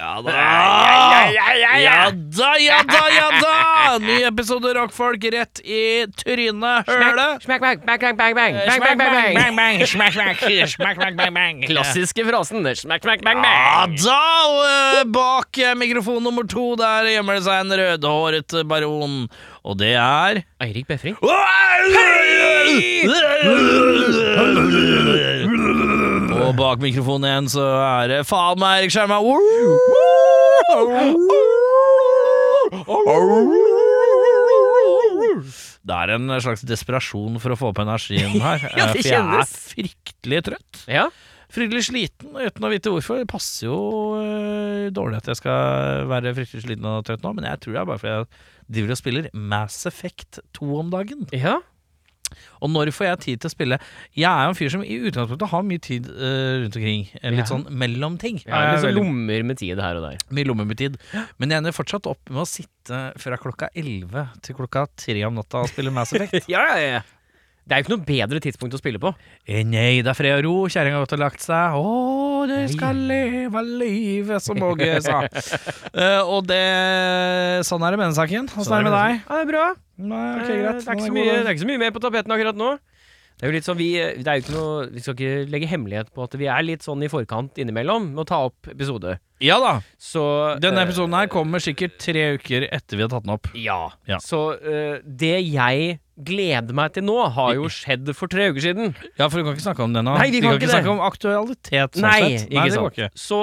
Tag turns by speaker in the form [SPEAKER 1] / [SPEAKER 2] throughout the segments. [SPEAKER 1] Ja da. Ja da, ja da, ja da! Ny episode Rockfolk rett i trynet. Hølet.
[SPEAKER 2] Smack, bang, bang, bang, bang, bang, bang, bang, bang, bang. Klassiske frasen. Smack, smack, bang,
[SPEAKER 1] Ja
[SPEAKER 2] bang.
[SPEAKER 1] da! Og eh, bak eh, mikrofon nummer to der gjemmer det seg en rødhåret eh, baron, og det er
[SPEAKER 2] Eirik Befring.
[SPEAKER 1] Og bak mikrofonen igjen så er det faen meg Erik Skjerma. Det er en slags desperasjon for å få opp energien her. Eh,
[SPEAKER 2] Ja, det
[SPEAKER 1] for jeg er
[SPEAKER 2] kjennes.
[SPEAKER 1] fryktelig trøtt.
[SPEAKER 2] Ja.
[SPEAKER 1] Fryktelig sliten uten å vite hvorfor. Det passer jo øh, dårlig at jeg skal være fryktelig sliten og trøtt nå, men jeg tror det er bare fordi jeg driver og spiller Mass Effect 2 om dagen.
[SPEAKER 2] Ja.
[SPEAKER 1] Og når får jeg tid til å spille? Jeg er jo en fyr som i utgangspunktet har mye tid eh, rundt omkring. eh, Litt
[SPEAKER 2] Ja.
[SPEAKER 1] sånn mellom ting.
[SPEAKER 2] Jeg
[SPEAKER 1] Jeg
[SPEAKER 2] har
[SPEAKER 1] er
[SPEAKER 2] liksom
[SPEAKER 1] veldig
[SPEAKER 2] lommer med tid her og der.
[SPEAKER 1] mye lomme med tid. Men jeg ender fortsatt opp med å sitte fra klokka 11 til klokka 3 om natta og spille Mass Effect.
[SPEAKER 2] Ja, ja, ja. Det er jo ikke noe bedre tidspunkt å spille på.
[SPEAKER 1] Eh, Nei, det er fred og ro, kjerringa har gått og lagt seg. Å, du skal leve livet, som Åge sa. Eh, og det Sånn er det med den saken. Åssen er det med deg?
[SPEAKER 2] Ja, det er bra.
[SPEAKER 1] Nei, ok,
[SPEAKER 2] Eh,
[SPEAKER 1] greit.
[SPEAKER 2] Det er ikke
[SPEAKER 1] Den
[SPEAKER 2] så
[SPEAKER 1] god,
[SPEAKER 2] mye,
[SPEAKER 1] den.
[SPEAKER 2] det er ikke så mye mer på tapeten akkurat nå. Det er jo litt sånn, vi, det er jo ikke noe, vi skal ikke legge hemmelighet på at vi er litt sånn i forkant innimellom med å ta opp episode.
[SPEAKER 1] Ja da.
[SPEAKER 2] Så
[SPEAKER 1] Denne
[SPEAKER 2] eh,
[SPEAKER 1] episoden her kommer sikkert tre uker etter vi har tatt den opp.
[SPEAKER 2] Ja.
[SPEAKER 1] Ja.
[SPEAKER 2] Så eh, det jeg gleder meg til nå, har jo skjedd for tre uker siden.
[SPEAKER 1] Ja, for du kan ikke snakke om det nå.
[SPEAKER 2] Nei, vi kan ikke det.
[SPEAKER 1] snakke om aktualitet. Sånn
[SPEAKER 2] Nei,
[SPEAKER 1] sett.
[SPEAKER 2] ikke
[SPEAKER 1] det går
[SPEAKER 2] sant. Så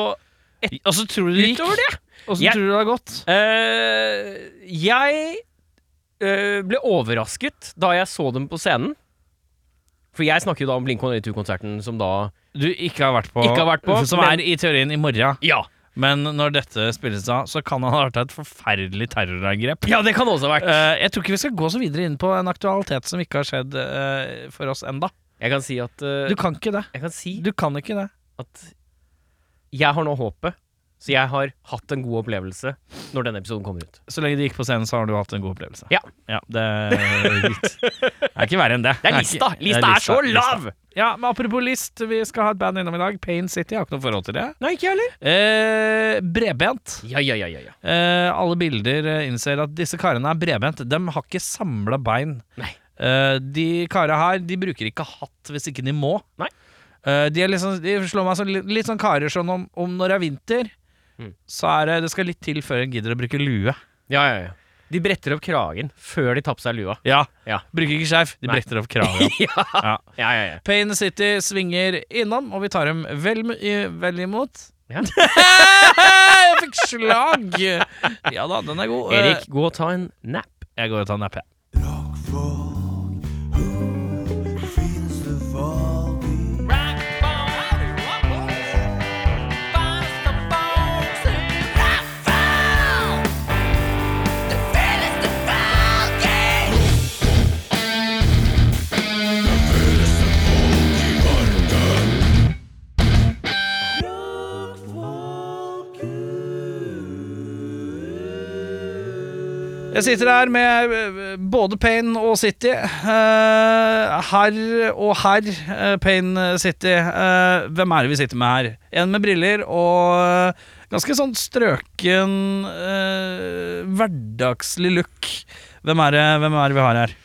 [SPEAKER 1] ikke. Og så tror du det gikk.
[SPEAKER 2] utover det
[SPEAKER 1] Og så
[SPEAKER 2] Jeg-
[SPEAKER 1] tror du det har gått.
[SPEAKER 2] eh, Jeg eh, ble overrasket da jeg så dem på scenen. For jeg snakker jo da om Blink 182-konserten som da
[SPEAKER 1] Du ikke har vært på,
[SPEAKER 2] Ikke har vært på,
[SPEAKER 1] som
[SPEAKER 2] men-
[SPEAKER 1] er i teorien i morgen.
[SPEAKER 2] Ja,
[SPEAKER 1] Men når dette spilles av, så kan han ha vært av et forferdelig terrorangrep.
[SPEAKER 2] ja det kan også ha vært.
[SPEAKER 1] Eh, jeg tror ikke vi skal gå så videre inn på en aktualitet som ikke har skjedd eh, for oss enda
[SPEAKER 2] Jeg kan si at eh,
[SPEAKER 1] Du kan ikke det.
[SPEAKER 2] Jeg kan si
[SPEAKER 1] Du kan ikke det.
[SPEAKER 2] at jeg har nå håpet, så jeg har hatt en god opplevelse når denne episoden kommer ut.
[SPEAKER 1] Så lenge du gikk på scenen, så har du hatt en god opplevelse.
[SPEAKER 2] Ja.
[SPEAKER 1] Det er litt Det er ikke verre enn det.
[SPEAKER 2] Det er
[SPEAKER 1] ikke-
[SPEAKER 2] lista!
[SPEAKER 1] det
[SPEAKER 2] Lista er så
[SPEAKER 1] lista.
[SPEAKER 2] lav!
[SPEAKER 1] Ja, men Apropos list, vi skal ha et band innom i dag. Pain City. Jeg har ikke noe forhold til det.
[SPEAKER 2] Nei, ikke jeg heller.
[SPEAKER 1] Eh, bredbent.
[SPEAKER 2] Ja, ja, ja, ja, ja.
[SPEAKER 1] Eh, alle bilder eh, innser at disse karene er bredbent. De har ikke samla bein.
[SPEAKER 2] Nei.
[SPEAKER 1] Eh, de karene her de bruker ikke hatt hvis ikke de må.
[SPEAKER 2] Nei.
[SPEAKER 1] Eh, de, er liksom, de slår meg som litt, litt sånn karer sånn om, om når det er vinter,
[SPEAKER 2] Mm.
[SPEAKER 1] så er det, det skal litt til før en gidder å bruke lue.
[SPEAKER 2] ja, ja, ja. De bretter opp kragen før de tapper seg lua.
[SPEAKER 1] Ja.
[SPEAKER 2] Ja.
[SPEAKER 1] Bruker ikke skjerf. De
[SPEAKER 2] Nei.
[SPEAKER 1] bretter opp kraven.
[SPEAKER 2] ja,
[SPEAKER 1] ja.
[SPEAKER 2] ja, ja, ja.
[SPEAKER 1] Pain City svinger innom, og vi tar dem vel, i- vel imot.
[SPEAKER 2] Ja.
[SPEAKER 1] jeg fikk slag! Ja da, den er god. Eh,
[SPEAKER 2] Erik, gå og ta en nap.
[SPEAKER 1] Jeg går og tar en napp, jeg. Jeg sitter her med eh, både Pain og City. Eh, herr og herr eh, Pain City. Eh, hvem er det vi sitter med her? En med briller og eh, ganske sånn strøken, eh, hverdagslig look. Hvem er, det, hvem er det vi har her?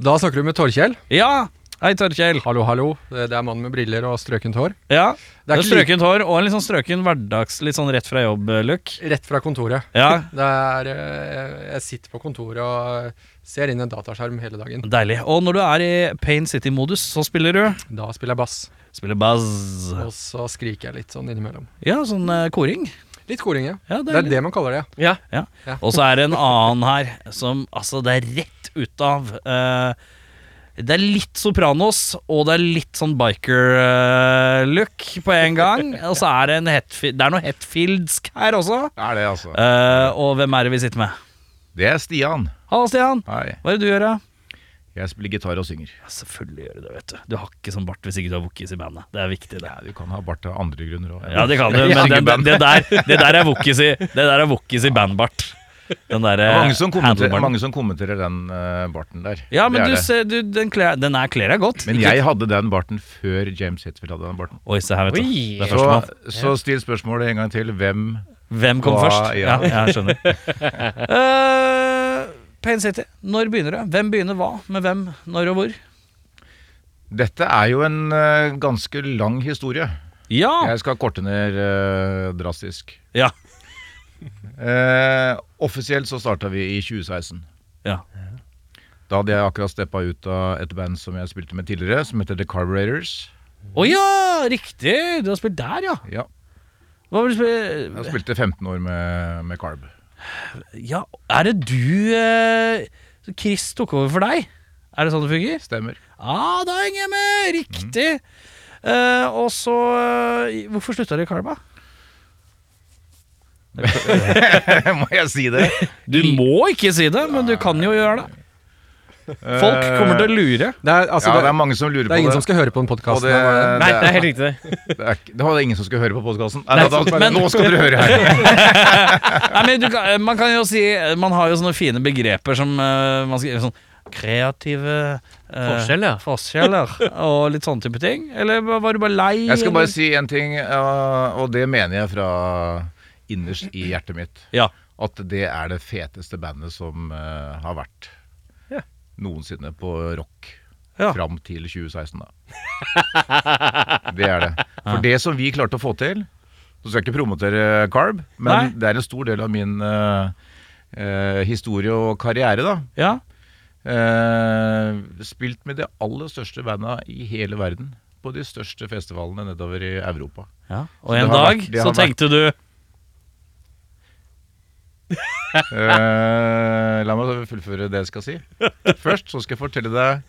[SPEAKER 3] Da snakker du med Torkjell.
[SPEAKER 1] Ja! Hei, Torkjell.
[SPEAKER 3] Hallo, hallo. Det det er mannen med briller og strøkent hår.
[SPEAKER 1] Ja,
[SPEAKER 3] Det er ikke like
[SPEAKER 1] strøkent hår og en litt sånn strøken hverdags, litt sånn rett fra jobb-look.
[SPEAKER 3] rett fra kontoret.
[SPEAKER 1] Ja.
[SPEAKER 3] Det er, eh, jeg sitter på kontoret og ser inn en dataskjerm hele dagen.
[SPEAKER 1] Deilig. Og når du er i Pain City-modus, så spiller du
[SPEAKER 3] Da spiller jeg bass,
[SPEAKER 1] Spiller buzz.
[SPEAKER 3] og så skriker jeg litt sånn innimellom.
[SPEAKER 1] Ja, sånn eh, koring.
[SPEAKER 3] Litt koring, ja.
[SPEAKER 1] Ja,
[SPEAKER 3] Det er det man kaller det. ja.
[SPEAKER 2] Ja.
[SPEAKER 1] Ja.
[SPEAKER 3] Ja.
[SPEAKER 1] Og så er det en annen her som Altså, det er rett ut av eh, Det er litt Sopranos, og det er litt sånn biker-look på en gang. Og så er det en Hetfi- Det er noe Hetfieldsk her også.
[SPEAKER 4] Det er det, altså.
[SPEAKER 1] Eh, og hvem er det vi sitter med?
[SPEAKER 4] Det er Stian.
[SPEAKER 1] Hallo, Stian.
[SPEAKER 4] Hei.
[SPEAKER 1] Hva er det du gjør, da?
[SPEAKER 4] Jeg spiller gitar og synger.
[SPEAKER 1] Ja, selvfølgelig gjør du det, vet du. Du har ikke sånn bart hvis ikke du har wookies i bandet. Det er viktig, det.
[SPEAKER 4] Ja, du kan ha bart av andre grunner òg.
[SPEAKER 1] Ja, det kan du, men det, det, der, det der er wookies i, det der er wookies i bandbart. Den der,
[SPEAKER 4] Det
[SPEAKER 1] eh,
[SPEAKER 4] er mange som kommenterer,
[SPEAKER 1] handlebaren.
[SPEAKER 4] mange som kommenterer den eh, barten der.
[SPEAKER 1] Ja, men
[SPEAKER 4] Det er
[SPEAKER 1] du
[SPEAKER 4] det.
[SPEAKER 1] ser, du, den, kler, den er kler deg godt.
[SPEAKER 4] men
[SPEAKER 1] Ikke-
[SPEAKER 4] jeg hadde den barten før James Hetfield hadde den barten.
[SPEAKER 1] Oi, se her, vet du.
[SPEAKER 2] Oi.
[SPEAKER 1] Det er
[SPEAKER 4] Så,
[SPEAKER 1] førstemann.
[SPEAKER 4] så still spørsmålet en gang til. Hvem
[SPEAKER 1] Hvem kom
[SPEAKER 4] Hva-
[SPEAKER 1] først? Ja,
[SPEAKER 4] ja.
[SPEAKER 1] jeg skjønner. Eh, Pain City, når begynner det? Hvem begynner hva? Med hvem, når og hvor?
[SPEAKER 4] Dette er jo en eh, ganske lang historie.
[SPEAKER 1] Ja!
[SPEAKER 4] Jeg skal korte ned eh, drastisk.
[SPEAKER 1] Ja.
[SPEAKER 4] Eh, offisielt så starta vi i 2016.
[SPEAKER 1] Ja.
[SPEAKER 4] Da hadde jeg akkurat steppa ut av et band som jeg spilte med tidligere, som heter The Carburetors.
[SPEAKER 1] Å ja, riktig! Du har spilt der, ja.
[SPEAKER 4] Ja,
[SPEAKER 1] Hva vil du spille?
[SPEAKER 4] jeg spilte 15 år med, med Carb.
[SPEAKER 1] Ja, er det du eh, så Chris tok over for deg? Er det sånn det fungerer?
[SPEAKER 4] Stemmer.
[SPEAKER 1] ah, da henger jeg med! Riktig! Eh, og så eh, Hvorfor slutta du i Karma?
[SPEAKER 4] Må jeg si det?
[SPEAKER 1] Du må ikke si det, men du kan jo gjøre det. Folk kommer til å lure.
[SPEAKER 3] Det er, altså,
[SPEAKER 4] Eh, ja,
[SPEAKER 3] det,
[SPEAKER 4] det er mange som lurer
[SPEAKER 3] det er
[SPEAKER 4] på
[SPEAKER 3] ingen som
[SPEAKER 4] det.
[SPEAKER 3] skal høre på den podkasten.
[SPEAKER 4] Og det-
[SPEAKER 2] Nei,
[SPEAKER 4] er-
[SPEAKER 2] det er helt riktig. det.
[SPEAKER 4] Det, er, ikke- det var det ingen som skulle høre på podkasten. Nei,
[SPEAKER 1] Nei,
[SPEAKER 4] da, da,
[SPEAKER 1] men-
[SPEAKER 4] nå skal dere høre her.
[SPEAKER 1] Nei, men du, kan- man kan jo si Man har jo sånne fine begreper som eh, man skal, sånn Kreative eh,
[SPEAKER 2] Forskjell, ja.
[SPEAKER 1] forskjeller og litt sånne type ting. Eller var du bare lei?
[SPEAKER 4] Jeg skal
[SPEAKER 1] eller?
[SPEAKER 4] bare si en ting, ja, og det mener jeg fra innerst i hjertet mitt.
[SPEAKER 1] Ja.
[SPEAKER 4] At det er det feteste bandet som eh, har vært
[SPEAKER 1] Ja.
[SPEAKER 4] noensinne på rock.
[SPEAKER 1] Ja.
[SPEAKER 4] Fram til 2016, da. Det er det. For det som vi klarte å få til Så skal jeg ikke promotere Carb, men
[SPEAKER 1] Nei.
[SPEAKER 4] det er en stor del av min eh, eh, historie og karriere, da.
[SPEAKER 1] ja.
[SPEAKER 4] Eh, spilt med de aller største banda i hele verden. På de største festivalene nedover i Europa.
[SPEAKER 1] ja.
[SPEAKER 4] Så
[SPEAKER 1] Og
[SPEAKER 4] det
[SPEAKER 1] en
[SPEAKER 4] har
[SPEAKER 1] dag
[SPEAKER 4] vært- det
[SPEAKER 1] så
[SPEAKER 4] har vært-
[SPEAKER 1] tenkte du
[SPEAKER 4] Eh, la meg fullføre det jeg skal si. Først så skal jeg fortelle deg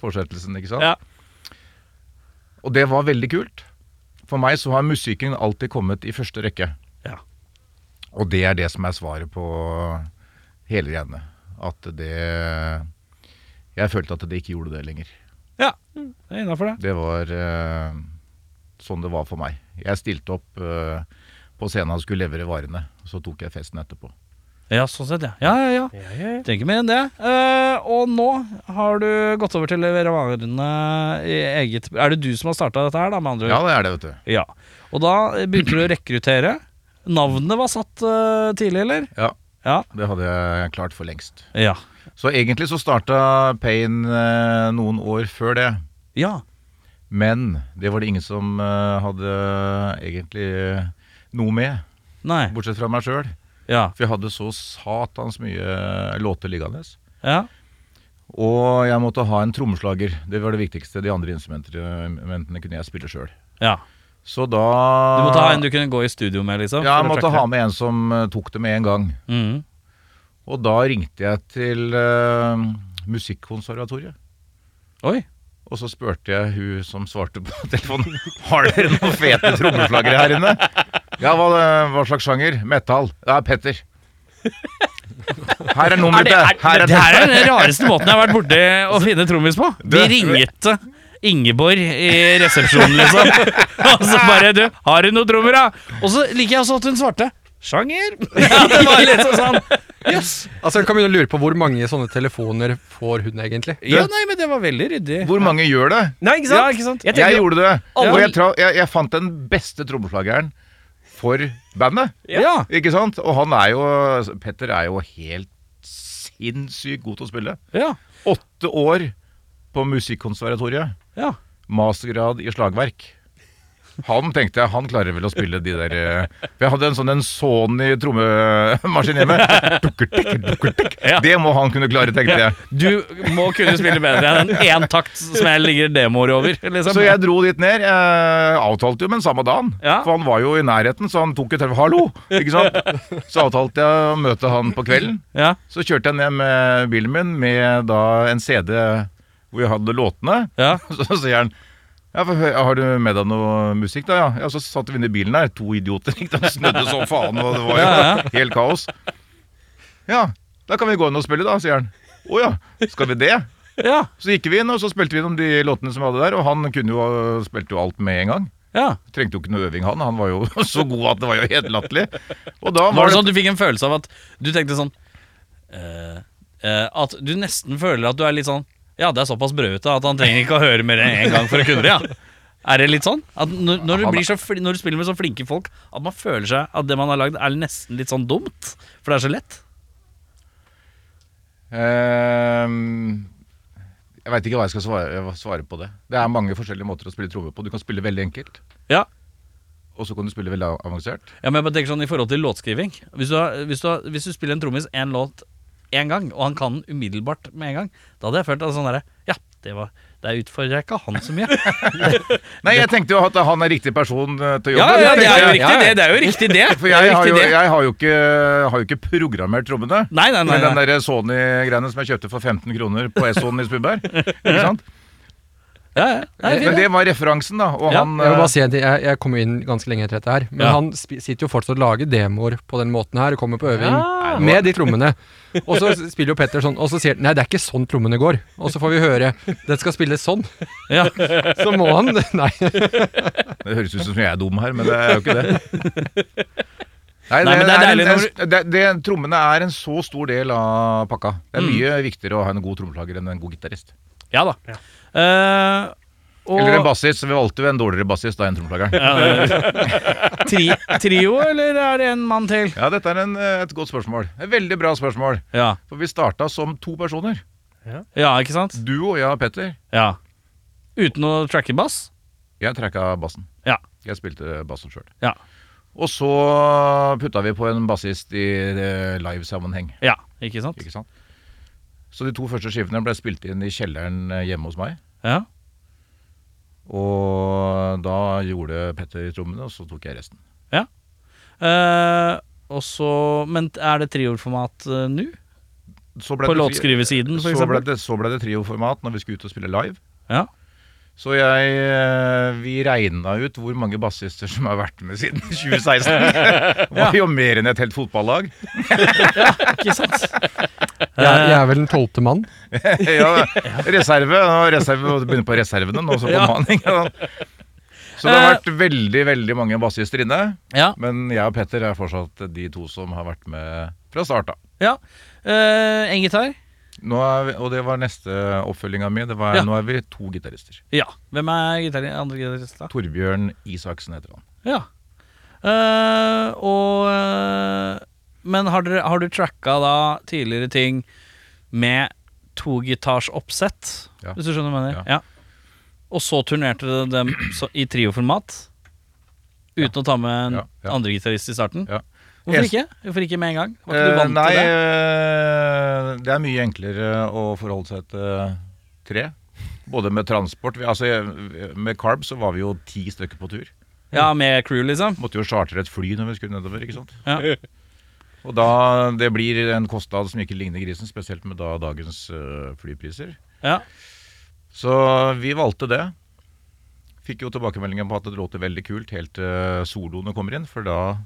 [SPEAKER 4] fortsettelsen, ikke sant?
[SPEAKER 1] Ja.
[SPEAKER 4] Og det var veldig kult. For meg så har musikken alltid kommet i første rekke.
[SPEAKER 1] Ja.
[SPEAKER 4] Og det er det som er svaret på hele greiene. At det Jeg følte at det ikke gjorde det lenger.
[SPEAKER 1] Ja, det er innafor det.
[SPEAKER 4] Det var eh, sånn det var for meg. Jeg stilte opp eh, på scenen og skulle levere varene. Så tok jeg festen etterpå.
[SPEAKER 1] Ja, sånn sett, ja. Ja, ja, ja. Trenger ikke mer enn det. Eh, og nå har du gått over til å levere varene i eget Er det du som har starta dette her, da, med andre
[SPEAKER 4] Ja, det er det, vet du.
[SPEAKER 1] Ja. Og da begynte du å rekruttere. Navnet var satt eh, tidlig, eller?
[SPEAKER 4] Ja.
[SPEAKER 1] Ja.
[SPEAKER 4] Det hadde jeg klart for lengst.
[SPEAKER 1] Ja.
[SPEAKER 4] Så egentlig så starta Pain eh, noen år før det.
[SPEAKER 1] Ja.
[SPEAKER 4] Men det var det ingen som eh, hadde eh, egentlig noe med,
[SPEAKER 1] Nei.
[SPEAKER 4] bortsett fra meg sjøl.
[SPEAKER 1] Ja.
[SPEAKER 4] For jeg hadde så satans mye eh, låter liggende.
[SPEAKER 1] Ja.
[SPEAKER 4] Og jeg måtte ha en trommeslager. Det var det viktigste. De andre instrumentene kunne jeg spille sjøl.
[SPEAKER 1] ja.
[SPEAKER 4] Så da
[SPEAKER 1] Du måtte ha en du kunne gå i studio med, liksom? for
[SPEAKER 4] Ja, jeg
[SPEAKER 1] å
[SPEAKER 4] måtte
[SPEAKER 1] tracke
[SPEAKER 4] ha
[SPEAKER 1] det.
[SPEAKER 4] med en som eh, tok det med en gang.
[SPEAKER 1] Mhm.
[SPEAKER 4] Og da ringte jeg til eh, Musikkonservatoriet.
[SPEAKER 1] Oi.
[SPEAKER 4] Og så spurte jeg hun som svarte på telefonen Har dere noen fete trommeslagere her inne? Ja, hva, hva slags sjanger? Metal. Det er Petter. Her er nummeret
[SPEAKER 2] Er det-
[SPEAKER 4] ditt. Her er
[SPEAKER 1] Det her er den rareste måten jeg har vært borti å finne trommis på. De
[SPEAKER 4] Du-
[SPEAKER 1] ringte Ingeborg i resepsjonen, liksom. Og så bare Du, har du noe trommer, da? Og så liker jeg også at hun svarte. Sjanger. Ja, det var litt sånn Jøss.
[SPEAKER 3] Altså, jeg kan begynne å lure på hvor mange sånne telefoner får hun egentlig.
[SPEAKER 1] Ja, nei, men det var veldig ryddig.
[SPEAKER 4] Hvor mange gjør det?
[SPEAKER 2] Nei, ikke sant?
[SPEAKER 1] Ja, ikke sant?
[SPEAKER 2] Jeg
[SPEAKER 4] Jeg
[SPEAKER 2] tenker,
[SPEAKER 4] gjorde det.
[SPEAKER 2] Alle-
[SPEAKER 4] Og jeg, tra jeg, jeg fant den beste trommeslageren for bandet.
[SPEAKER 1] Ja.
[SPEAKER 4] Ikke sant? Og han er jo Petter er jo helt sinnssykt god til å spille.
[SPEAKER 1] Ja.
[SPEAKER 4] Åtte år på Musikkonservatoriet.
[SPEAKER 1] Ja.
[SPEAKER 4] mastergrad i slagverk. Han tenkte jeg, han klarer vel å spille de der eh, For jeg hadde en sånn en Sony trommemaskin hjemme. Dukker, dukker, dukker, dukker.
[SPEAKER 1] Ja.
[SPEAKER 4] Det må han kunne klare, tenkte jeg.
[SPEAKER 1] Du må kunne spille bedre enn en entakt som jeg ligger demoer over. Liksom.
[SPEAKER 4] Så jeg dro dit ned. Jeg avtalte jo med den samme dagen.
[SPEAKER 1] Ja.
[SPEAKER 4] For han var jo i nærheten, så han tok et telefon. Hallo! Ikke sant? Så avtalte jeg å møte han på kvelden.
[SPEAKER 1] Ja.
[SPEAKER 4] Så kjørte jeg ned med bilen min med da en CD hvor jeg hadde låtene.
[SPEAKER 1] Ja.
[SPEAKER 4] Så sier han ja, for, hø- Har du med deg noe musikk da? Ja, ja så satt vi inne i bilen der To idioter ikke sant? Snødde så faen Og det var jo
[SPEAKER 1] Ja,
[SPEAKER 4] helt kaos Ja, da kan vi gå inn og spille da, sier han Åja, skal vi det?
[SPEAKER 1] ja.
[SPEAKER 4] Så gikk vi inn og så spilte vi inn om de låtene som vi hadde der Og han kunne jo, spilte jo alt med en gang
[SPEAKER 1] Ja.
[SPEAKER 4] Trengte jo ikke noe øving, han. Han var jo så god at det var jo helt latterlig. Og da
[SPEAKER 1] Var det sånn at du fikk en følelse av at du tenkte sånn eh, eh, At du nesten føler at du er litt sånn Ja, det er såpass brødete at han trenger ikke å høre mer enn én gang for å kunne det, ja. Er det litt sånn? At når, når, du
[SPEAKER 4] Han er-
[SPEAKER 1] blir så, fli- når du spiller med så flinke folk, at man føler seg at det man har lagd, er nesten litt sånn dumt? For det er så lett?
[SPEAKER 4] Ehm, Jeg veit ikke hva jeg skal svare, svare på det. Det er mange forskjellige måter å spille trommer på. Du kan spille veldig enkelt,
[SPEAKER 1] Ja.
[SPEAKER 4] og så kan du spille veldig avansert.
[SPEAKER 1] ja men jeg bare tenker sånn i forhold til låtskriving. Hvis du, har, hvis du, har, hvis du spiller en trommis én låt én gang, og han kan den umiddelbart med en gang, da hadde jeg følt at sånn derre Ja, det var der utfordrer jeg ikke han så mye.
[SPEAKER 4] Nei, jeg tenkte jo at han er riktig person eh, til
[SPEAKER 1] Ja,
[SPEAKER 4] jobben.
[SPEAKER 1] ja, det er jo
[SPEAKER 4] tenkte jeg.
[SPEAKER 1] riktig, det. Det er jo riktig, det.
[SPEAKER 4] For
[SPEAKER 1] Det er
[SPEAKER 4] jeg, har
[SPEAKER 1] riktig
[SPEAKER 4] jo,
[SPEAKER 1] det.
[SPEAKER 4] jeg har, jo ikke, har jo ikke programmert trommene.
[SPEAKER 1] Nei, nei, nei,
[SPEAKER 4] Med
[SPEAKER 1] nei.
[SPEAKER 4] den der Sony-greiene som jeg kjøpte for 15 kroner på Essoen i Spudberg. Ikke sant?
[SPEAKER 1] Ja, ja. Nei, fint,
[SPEAKER 4] Men
[SPEAKER 1] det.
[SPEAKER 4] det var referansen, da. Og
[SPEAKER 1] Ja.
[SPEAKER 4] han
[SPEAKER 3] Jeg må
[SPEAKER 4] eh,
[SPEAKER 3] bare si en ting, jeg, jeg kom jo inn ganske lenge etter dette her, men
[SPEAKER 1] Ja.
[SPEAKER 3] han sp sitter jo fortsatt og lager demoer på den måten her, og kommer på øving
[SPEAKER 2] Ja.
[SPEAKER 3] med de trommene. Og så spiller jo Petter sånn, og så sier han nei, det er ikke sånn trommene går. Og så får vi høre det skal spilles sånn.
[SPEAKER 1] Ja.
[SPEAKER 3] Så må han Nei.
[SPEAKER 4] Det høres ut som jeg er dum her, men det er jo ikke det. Nei,
[SPEAKER 1] Nei, men det er deilig
[SPEAKER 4] en,
[SPEAKER 1] når
[SPEAKER 4] det, det, Trommene er en så stor del av pakka. Det er mye viktigere å ha en god trommeslager enn en god gitarist.
[SPEAKER 1] ja da. Eh, og
[SPEAKER 4] Eller en bassist. så Vi valgte jo en dårligere bassist da enn trommeslageren.
[SPEAKER 1] tri, trio, eller er det en mann til?
[SPEAKER 4] Ja, dette er en, eh, et godt spørsmål. Et veldig bra spørsmål.
[SPEAKER 1] Ja,
[SPEAKER 4] For vi starta som to personer.
[SPEAKER 1] ja ikke sant?
[SPEAKER 4] Du og jeg og Petter.
[SPEAKER 1] Ja. Uten å tracke bass?
[SPEAKER 4] Jeg trekka bassen.
[SPEAKER 1] Ja.
[SPEAKER 4] Jeg spilte bassen sjøl.
[SPEAKER 1] Ja.
[SPEAKER 4] Og så putta vi på en bassist i eh, live-sammenheng.
[SPEAKER 1] ja. Ikke sant?
[SPEAKER 4] Ikke sant? Så de to første skivene ble spilt inn i kjelleren eh, hjemme hos meg.
[SPEAKER 1] Ja.
[SPEAKER 4] Og da gjorde Petter trommene, og så tok jeg resten.
[SPEAKER 1] Eh, og så Men er det trioformat uh, nå?
[SPEAKER 4] Så ble
[SPEAKER 1] På
[SPEAKER 4] det tri-
[SPEAKER 1] låtskrivesiden, for
[SPEAKER 4] så ble,
[SPEAKER 1] eksempel?
[SPEAKER 4] det, så ble det trioformat når vi skulle ut og spille live.
[SPEAKER 1] Ja.
[SPEAKER 4] Så jeg, eh, vi regna ut hvor mange bassister som har vært med siden 2016. Det var jo mer enn et helt fotballag.
[SPEAKER 1] Ikke sant?
[SPEAKER 3] Jeg, jeg er vel den tolvte mann.
[SPEAKER 4] ja, reserve, og reserve og begynner på reservene nå, så på
[SPEAKER 1] Ja. Eh.
[SPEAKER 4] maning. ja. Så det har vært veldig veldig mange bassister inne.
[SPEAKER 1] Ja.
[SPEAKER 4] Men jeg og Petter er fortsatt de to som har vært med fra start av.
[SPEAKER 1] ja. Eh, en gitar?
[SPEAKER 4] Nå er vi, og det var neste oppfølginga mi. Det var,
[SPEAKER 1] Ja.
[SPEAKER 4] Nå er vi to gitarister.
[SPEAKER 1] Ja. Hvem er gitar, andre gitarist, da?
[SPEAKER 4] Torbjørn Isaksen heter han.
[SPEAKER 1] Ja. Eh, og eh, Men har, dere, har du tracka da tidligere ting med togitarsoppsett,
[SPEAKER 4] Ja.
[SPEAKER 1] hvis du skjønner hva jeg mener?
[SPEAKER 4] Ja.
[SPEAKER 1] Ja. Og så turnerte dere dem så, i trioformat? Uten å ta med en
[SPEAKER 4] Ja, ja.
[SPEAKER 1] andre gitarist i starten?
[SPEAKER 4] Ja.
[SPEAKER 1] Hvorfor
[SPEAKER 4] Eneste-
[SPEAKER 1] ikke? Hvorfor ikke med en gang? Var ikke du vant
[SPEAKER 4] Eh, nei,
[SPEAKER 1] til det?
[SPEAKER 4] eh, det er mye enklere å forholde seg til tre. Både med transport vi, Altså, jeg- med Carb så var vi jo ti stykker på tur.
[SPEAKER 1] Ja, med crew, liksom?
[SPEAKER 4] Måtte jo chartre et fly når vi skulle nedover, ikke sant?
[SPEAKER 1] Ja.
[SPEAKER 4] Og da, det blir en kostnad som ikke ligner grisen, spesielt med da dagens øh, flypriser.
[SPEAKER 1] Ja.
[SPEAKER 4] Så vi valgte det. Fikk jo tilbakemeldinger på at det låter veldig kult helt til soloene kommer inn, for da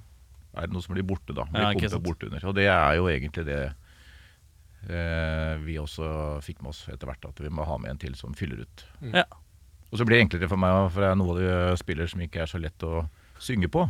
[SPEAKER 4] er det noe som blir borte, da. Blir
[SPEAKER 1] Ja, ikke
[SPEAKER 4] pumpet
[SPEAKER 1] sant.
[SPEAKER 4] bort under. Og det er jo egentlig det eh, vi også fikk med oss etter hvert, at vi må ha med en til som fyller ut.
[SPEAKER 1] Ja.
[SPEAKER 4] Og så blir det enklere for meg, for det er noe av det jeg spiller som ikke er så lett å synge på.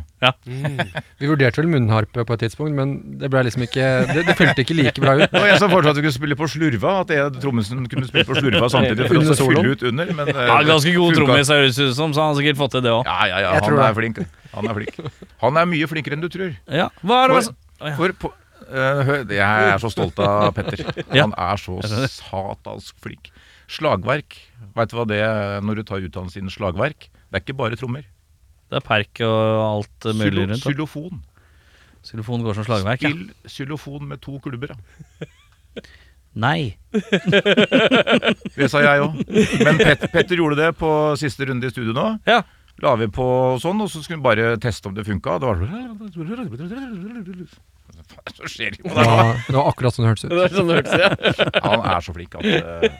[SPEAKER 3] Vi vurderte vel munnharpe på et tidspunkt, men det ble liksom ikke Det, det fylte ikke like bra ut.
[SPEAKER 4] Det var jeg som foreslo at vi kunne spille på slurva. At jeg, Trommesen kunne spille på slurva samtidig for
[SPEAKER 3] Under
[SPEAKER 4] å
[SPEAKER 3] soloen.
[SPEAKER 4] fylle ut under. Men, eh,
[SPEAKER 1] ja ganske god
[SPEAKER 4] funka.
[SPEAKER 1] trommis, høres det ut som, så han har sikkert fått til det òg.
[SPEAKER 4] Ja, ja, ja.
[SPEAKER 3] Jeg
[SPEAKER 4] Han
[SPEAKER 3] tror
[SPEAKER 4] er
[SPEAKER 3] det.
[SPEAKER 4] flink. Han er flink. Han er mye flinkere enn du tror.
[SPEAKER 1] Ja. Hva er det altså-
[SPEAKER 4] For-
[SPEAKER 1] som- Å, ja.
[SPEAKER 4] For på, eh, hør, jeg er så stolt av Petter.
[SPEAKER 1] Ja.
[SPEAKER 4] Han er så satansk flink. Slagverk. Veit du hva det er når du tar utdannelse innen slagverk? Det er ikke bare trommer.
[SPEAKER 1] Det er perk og alt mulig
[SPEAKER 4] Xylo-
[SPEAKER 1] rundt. da.
[SPEAKER 4] Xylofon.
[SPEAKER 1] Xylofon går som slagverk. Ja.
[SPEAKER 4] Spill xylofon med to klubber. da.
[SPEAKER 1] Nei.
[SPEAKER 4] Det sa jeg òg. Men Pet Petter gjorde det på siste runde i studio nå.
[SPEAKER 1] Ja.
[SPEAKER 4] La vi på sånn, og så skulle vi bare teste om det funka. Det var Faen, så skjer det jo
[SPEAKER 3] Det var, det var akkurat sånn det hørtes ut.
[SPEAKER 2] Det er sånn det hørtes ut. Ja.
[SPEAKER 4] Han er så flink at eh,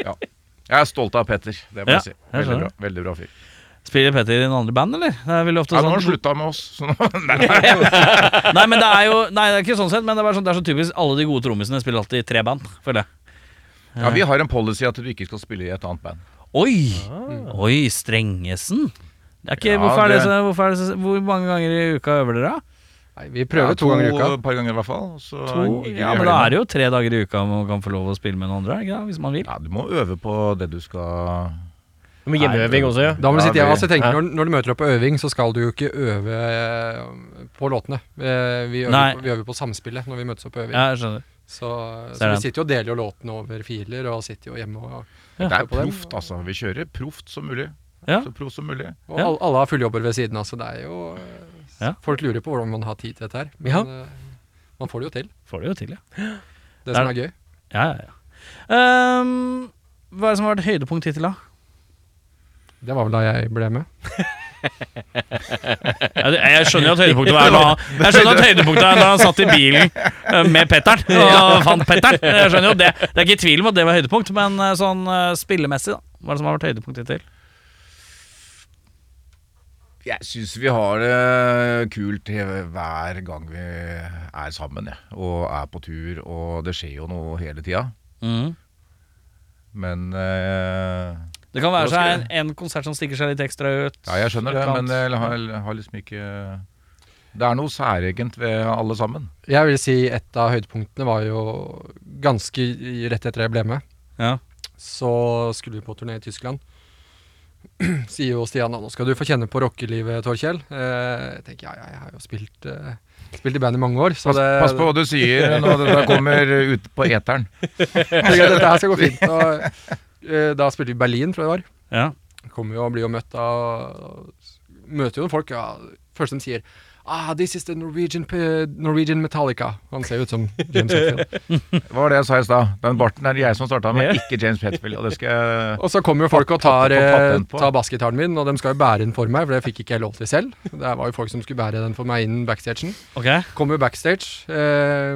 [SPEAKER 4] Ja. Jeg er stolt av Petter. Det må
[SPEAKER 1] Ja,
[SPEAKER 4] jeg si.
[SPEAKER 1] jeg
[SPEAKER 4] Veldig
[SPEAKER 1] skjønner.
[SPEAKER 4] bra, veldig bra fyr.
[SPEAKER 1] Spiller Petter i en andre band, eller? Det er veldig ofte
[SPEAKER 4] Ja, nå har han
[SPEAKER 1] sånn
[SPEAKER 4] slutta med oss, så nå Nei, nei.
[SPEAKER 1] Nei, men det er jo Nei, det er ikke sånn sett, men det er, bare sånn, det er så typisk alle de gode trommisene spiller alltid i tre band, føler jeg.
[SPEAKER 4] Ja, vi har en policy at du ikke skal spille i et annet band.
[SPEAKER 1] Oi! Oi, Strengesen. Det er ikke,
[SPEAKER 4] Ja,
[SPEAKER 1] hvorfor er Ah. det
[SPEAKER 4] det-
[SPEAKER 1] så, hvorfor er det så, hvor mange ganger i uka øver dere? da?
[SPEAKER 3] Nei, vi prøver to, ganger i uka.
[SPEAKER 4] Et eh, par ganger i hvert fall. Så
[SPEAKER 1] To? Ja, men da er det jo tre dager i uka man kan få lov å spille med noen andre, ikke da, hvis man vil.
[SPEAKER 4] Ja, du må øve på det du skal
[SPEAKER 2] Med hjemmeøving også, ja.
[SPEAKER 3] Da må du
[SPEAKER 4] Ja,
[SPEAKER 3] sitte hjemme. Altså, jeg
[SPEAKER 2] Ja.
[SPEAKER 3] tenker, når, når du møter opp på øving, så skal du jo ikke øve eh, på låtene. Eh, Vi
[SPEAKER 1] Nei.
[SPEAKER 3] øver, på, vi øver på samspillet når vi møtes opp på øving.
[SPEAKER 1] Ja, jeg skjønner.
[SPEAKER 3] Så, så
[SPEAKER 1] Ser
[SPEAKER 3] vi
[SPEAKER 1] den.
[SPEAKER 3] sitter jo og deler jo låtene over filer, og sitter jo hjemme og,
[SPEAKER 4] Det er
[SPEAKER 3] på dem.
[SPEAKER 4] proft, altså. Vi kjører proft som mulig.
[SPEAKER 1] Ja.
[SPEAKER 4] Så proft som mulig.
[SPEAKER 3] og
[SPEAKER 1] Ja.
[SPEAKER 3] alle, alle har fulle jobber ved siden av, så det er jo eh,
[SPEAKER 1] Ja.
[SPEAKER 3] Folk lurer på hvordan man har tid til dette her. Men
[SPEAKER 2] Ja.
[SPEAKER 3] eh, man får det jo til,
[SPEAKER 1] Får det jo til, ja.
[SPEAKER 3] det
[SPEAKER 1] Der-
[SPEAKER 3] som er gøy.
[SPEAKER 1] ja, ja, ja. Ehm, hva er det som har vært høydepunkt hittil, da?
[SPEAKER 3] Det var vel da jeg ble med.
[SPEAKER 1] Ja, det- Jeg skjønner jo at høydepunktet var da Jeg skjønner at høydepunktet er da han satt i bilen eh, med Petter'n og fant Petter'n. Jeg skjønner jo Det Det er ikke tvil om at det var høydepunkt, men eh, sånn eh, spillemessig, da. Hva er det som har vært høydepunktet hittil?
[SPEAKER 4] Jeg syns vi har det eh, kult hver gang vi er sammen, jeg. Og er på tur, og det skjer jo noe hele tida. Men eh,
[SPEAKER 1] Det kan være
[SPEAKER 4] Hva skal
[SPEAKER 1] seg en, en konsert som stikker seg litt ekstra ut.
[SPEAKER 4] Ja, jeg skjønner det,
[SPEAKER 1] Et eller
[SPEAKER 4] men
[SPEAKER 1] annet.
[SPEAKER 4] jeg har, har liksom ikke Det er noe særegent ved alle sammen.
[SPEAKER 3] Jeg vil si et av høydepunktene var jo ganske i- rett etter jeg ble med.
[SPEAKER 1] Ja.
[SPEAKER 3] Så skulle vi på turné i Tyskland. Sier jo Stian nå skal du få kjenne på rockelivet, Torkjell. Eh, jeg tenker ja, ja, jeg har jo spilt, eh, spilt i band i mange år, så
[SPEAKER 4] Pass,
[SPEAKER 3] det,
[SPEAKER 4] pass på hva du sier når dette kommer ut på eteren.
[SPEAKER 3] tenker jeg, dette her skal gå fint. Og, eh, da spilte vi i Berlin, tror jeg det var.
[SPEAKER 1] Ja.
[SPEAKER 3] Kommer jo og blir jo møtt av Møter jo noen folk. Ja, første de sier Ah, this is the Norwegian, pe- Norwegian Metallica. Han ser jo ut som James Hetfield.
[SPEAKER 4] Hva var det jeg sa i stad? Den barten er det jeg som starta med, ikke James Petfield. Og det skal jeg
[SPEAKER 3] Og så kommer jo folk og tar,
[SPEAKER 4] Få patent
[SPEAKER 3] eh,
[SPEAKER 4] på.
[SPEAKER 3] tar bassgitaren min, og de skal jo bære den for meg, for det fikk ikke jeg lov til selv. Det var jo folk som skulle bære den for meg innen backstagen.
[SPEAKER 1] Ok.
[SPEAKER 3] Kommer backstage. Eh,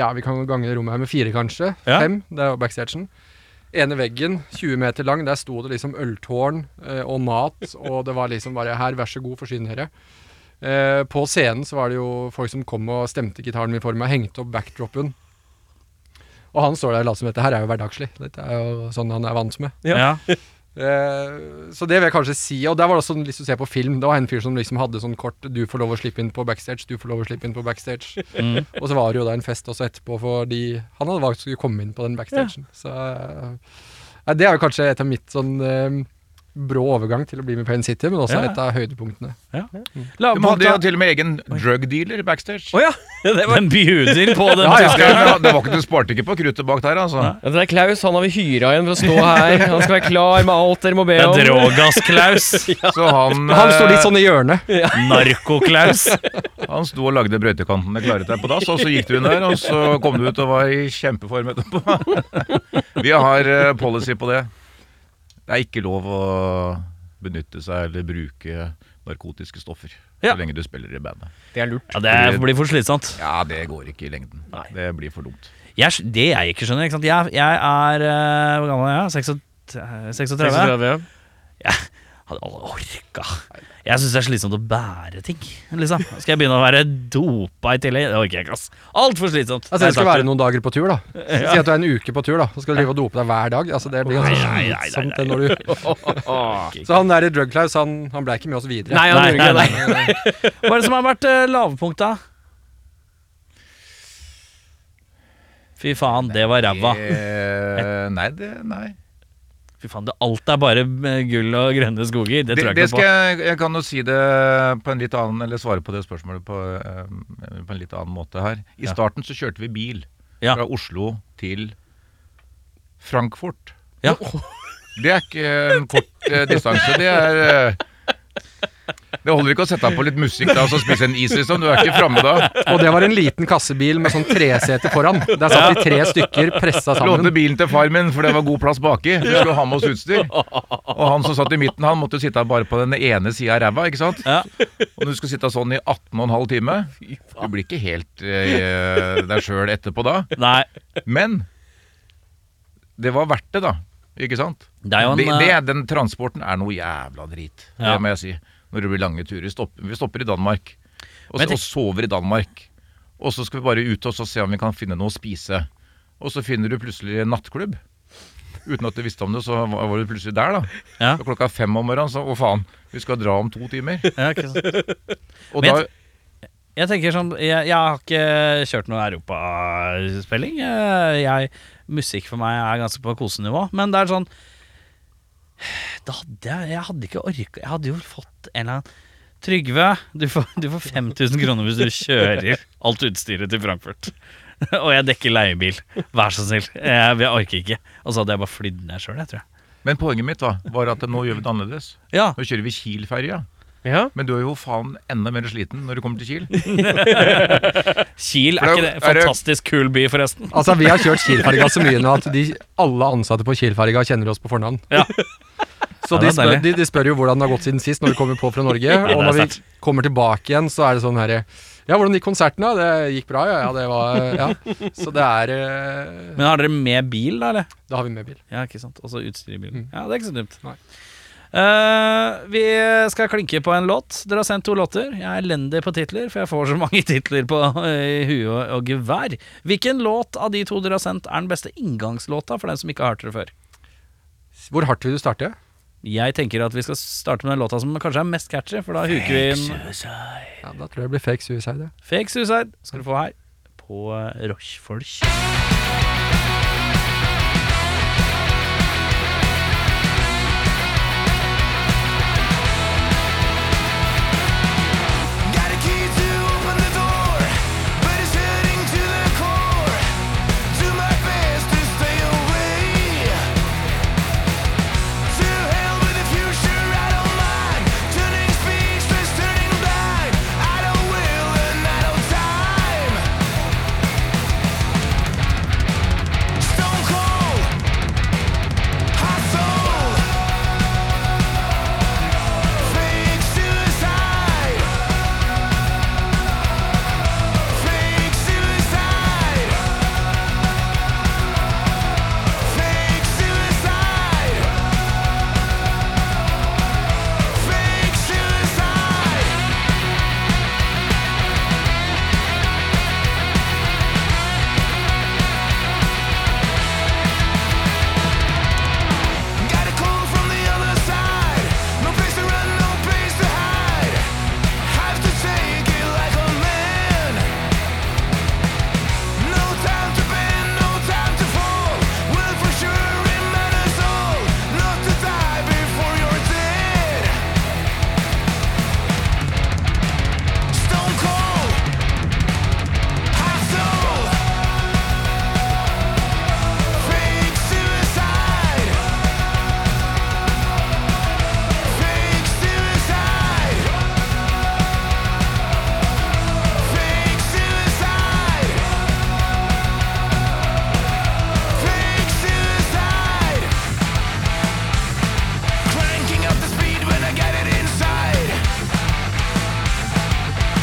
[SPEAKER 3] ja, vi kan jo gange rommet her med fire, kanskje.
[SPEAKER 1] Ja.
[SPEAKER 3] Fem. Det er jo backstagen. Ene veggen, 20 meter lang, der sto det liksom øltårn eh, og mat, og det var liksom bare her, vær så god, forsyn dere. Eh, på scenen så var det jo folk som kom og stemte gitaren min for meg, hengte opp backdropen. Og han står der og later som dette her er jo hverdagslig. Dette er jo sånn han er vant med.
[SPEAKER 1] Ja.
[SPEAKER 2] Ja.
[SPEAKER 3] Eh, Så det vil jeg kanskje si. Og der var det også lyst til å se på film. Det var en fyr som liksom hadde sånn kort 'du får lov å slippe inn på backstage', 'du får lov å slippe inn på backstage'.
[SPEAKER 1] Mm.
[SPEAKER 3] Og så var det jo da en fest også etterpå fordi han hadde valgt å skulle komme inn på den backstagen. Så eh, ja, det er jo kanskje et av mitt sånn eh, brå overgang til å bli med Pain City, men også
[SPEAKER 1] Ja.
[SPEAKER 3] et av høydepunktene.
[SPEAKER 4] De hadde jo
[SPEAKER 1] Lavpunkt, da.
[SPEAKER 4] til og med egen drug dealer backstage.
[SPEAKER 2] Å ja! Det var
[SPEAKER 1] Den bjuder på den
[SPEAKER 4] Ja, ja.
[SPEAKER 1] tyske
[SPEAKER 4] Det var ikke, du sparte ikke på kruttet bak der, altså.
[SPEAKER 1] Nei.
[SPEAKER 2] Ja, det er Klaus, han har vi hyra igjen for å stå her. Han skal være klar med alt dere må be
[SPEAKER 1] Det er
[SPEAKER 2] om.
[SPEAKER 1] Drogas-Klaus.
[SPEAKER 4] Så han,
[SPEAKER 3] Han sto litt
[SPEAKER 4] eh,
[SPEAKER 3] sånn i hjørnet.
[SPEAKER 1] Narko-Klaus.
[SPEAKER 4] han sto og lagde brøytekantene klare til deg på dass, og så gikk du inn der, og så kom du ut og var i kjempeform etterpå. Vi har eh, policy på det. Det er ikke lov å benytte seg eller bruke narkotiske stoffer
[SPEAKER 1] Ja.
[SPEAKER 4] så lenge du spiller i bandet.
[SPEAKER 2] Det er lurt.
[SPEAKER 1] Ja, det er- blir for slitsomt.
[SPEAKER 4] Ja, det går ikke i lengden.
[SPEAKER 1] Nei.
[SPEAKER 4] Det blir for dumt.
[SPEAKER 1] Jeg, skj- det jeg ikke skjønner ikke sant? Jeg, jeg er eh, Hvor gammel er jeg? eh, 36? 36. Hadde alle orka. Jeg syns det er slitsomt å bære ting. Liksom. Skal jeg begynne å være dopa i tillegg? Det orker jeg ikke. ass Altfor slitsomt.
[SPEAKER 3] Altså, det skal
[SPEAKER 1] Nei,
[SPEAKER 3] være noen dager på tur, da. Si at du er en uke på tur, da. Så skal du drive og dope deg hver dag. Altså, det blir ganske
[SPEAKER 1] Nei, nei, nei,
[SPEAKER 3] slitsomt,
[SPEAKER 1] nei,
[SPEAKER 3] det når du Så han der i Drug Klaus, han, han ble ikke med oss videre.
[SPEAKER 2] Nei, han
[SPEAKER 1] Nei,
[SPEAKER 2] gjorde ikke
[SPEAKER 1] nei,
[SPEAKER 2] det.
[SPEAKER 1] takk. Hva er det som har vært uh, lavpunkta? Fy faen, det var ræva.
[SPEAKER 4] Eh, nei, det Nei.
[SPEAKER 1] Fy faen, det, alt er bare eh, gull og grønne skoger. Det
[SPEAKER 4] Det,
[SPEAKER 1] tror
[SPEAKER 4] det
[SPEAKER 1] jeg ikke
[SPEAKER 4] skal
[SPEAKER 1] noe på.
[SPEAKER 4] jeg, jeg kan jo si det på en litt annen Eller svare på det spørsmålet på, eh, på en litt annen måte her. I
[SPEAKER 1] Ja.
[SPEAKER 4] starten så kjørte vi bil
[SPEAKER 1] Ja.
[SPEAKER 4] fra Oslo til Frankfurt.
[SPEAKER 1] Ja.
[SPEAKER 4] Det er ikke en kort eh, distanse. Det er eh, Det holder ikke å sette på litt musikk da og så spise en is, liksom. Du er ikke framme da.
[SPEAKER 3] Og det var en liten kassebil med sånn tresete foran. Der satt de tre stykker pressa
[SPEAKER 4] Lånte
[SPEAKER 3] sammen.
[SPEAKER 4] bilen til far min, for det var god plass baki. Vi skulle ha med oss utstyr. Og han som satt i midten, han måtte sitte bare på den ene sida av ræva, ikke sant.
[SPEAKER 1] Ja.
[SPEAKER 4] Og du skulle sitte sånn i 18,5 time. Du blir ikke helt eh, deg sjøl etterpå da.
[SPEAKER 1] Nei,
[SPEAKER 4] Men det var verdt det, da. Ikke sant?
[SPEAKER 1] det er jo
[SPEAKER 4] Det,
[SPEAKER 1] en
[SPEAKER 4] det,
[SPEAKER 1] eh,
[SPEAKER 4] den transporten er noe jævla drit,
[SPEAKER 1] Ja.
[SPEAKER 4] det må jeg si. Når det blir lange turer. Stopp, vi stopper i Danmark, og,
[SPEAKER 1] Men
[SPEAKER 4] så,
[SPEAKER 1] jeg
[SPEAKER 4] og sover i Danmark. Og så skal vi bare ut og så se om vi kan finne noe å spise. Og så finner du plutselig en nattklubb. uten at du visste om det, så var var du plutselig der, da.
[SPEAKER 1] Ja.
[SPEAKER 4] Så klokka fem om morgenen, så å faen, vi skal dra om to timer.
[SPEAKER 1] Ja, ikke sant.
[SPEAKER 4] Og
[SPEAKER 1] Men
[SPEAKER 4] da
[SPEAKER 1] Jeg tenker sånn Jeg, jeg har ikke kjørt noen europaspilling. Eh, Jeg, musikk for meg er ganske på kosenivå. Men det er sånn Da hadde jeg Jeg hadde ikke orka Jeg hadde jo fått en eller annen Trygve, du får, du får 5000 kroner hvis du kjører alt utstyret til Frankfurt. Og jeg dekker leiebil. Vær så snill. Jeg, jeg orker ikke. Og så hadde jeg bare flydd ned sjøl, jeg tror jeg.
[SPEAKER 4] Men poenget mitt da, var at nå gjør vi det annerledes.
[SPEAKER 1] Ja,
[SPEAKER 4] Nå kjører vi Kiel-ferja.
[SPEAKER 2] Ja.
[SPEAKER 4] Men du er jo faen enda mer sliten når du kommer til Kiel.
[SPEAKER 1] Kiel,
[SPEAKER 4] For
[SPEAKER 1] er ikke
[SPEAKER 4] det-
[SPEAKER 1] det
[SPEAKER 4] er det-
[SPEAKER 1] fantastisk kul by, forresten?
[SPEAKER 3] Altså, Vi har kjørt Kielferga så mye nå at de, alle ansatte på Kielferga kjenner oss på fornavn.
[SPEAKER 1] Ja.
[SPEAKER 3] Så
[SPEAKER 1] Ja,
[SPEAKER 3] de
[SPEAKER 1] det er
[SPEAKER 3] spør,
[SPEAKER 1] deilig.
[SPEAKER 3] de, de spør jo hvordan det har gått siden sist når vi kommer på fra Norge.
[SPEAKER 1] det
[SPEAKER 3] Og
[SPEAKER 1] er
[SPEAKER 3] når vi
[SPEAKER 1] sant.
[SPEAKER 3] kommer tilbake igjen, så er det sånn herre Ja, hvordan gikk konserten, da? Det gikk bra, ja. ja det var Ja. Så det er eh,
[SPEAKER 1] Men har dere med bil, da, eller?
[SPEAKER 3] Da har vi med bil.
[SPEAKER 1] Ja, ikke sant. Og så utstyr i bilen.
[SPEAKER 3] Mm.
[SPEAKER 1] Ja, det er ikke så dumt.
[SPEAKER 3] Nei.
[SPEAKER 1] Eh, vi skal klinke på en låt. Dere har sendt to låter. Jeg er elendig på titler, for jeg får så mange titler på eh, i huet og, og gevær. Hvilken låt av de to dere har sendt, er den beste inngangslåta for den som ikke har hørt dere før?
[SPEAKER 3] Hvor hardt vil du starte?
[SPEAKER 1] Jeg tenker at vi skal starte med den låta som kanskje er mest catchy, for da huker vi inn
[SPEAKER 3] Ja, Da tror jeg det blir fake suicide. ja.
[SPEAKER 1] Fake Suicide skal du få her på eh, Rochefolk.
[SPEAKER 5] Got a key to open the door, but it's hurting to the core. Do my best to stay away. To hell with the future, I don't mind. Turning speechless, turning blind. I don't will and I don't time. Stone cold, hot soul, fake suicide. Fake suicide. Fake suicide. Fake suicide. Got a call from the other side. No place to run, no place to hide. Have to take it like a man. No time to bend, no time to fall. Will for sure remind us all not to die before you're dead. Stone cold, hot soul, fake suicide, fake suicide. Fake suicide. Fake suicide. Cranking up the speed when I get it inside.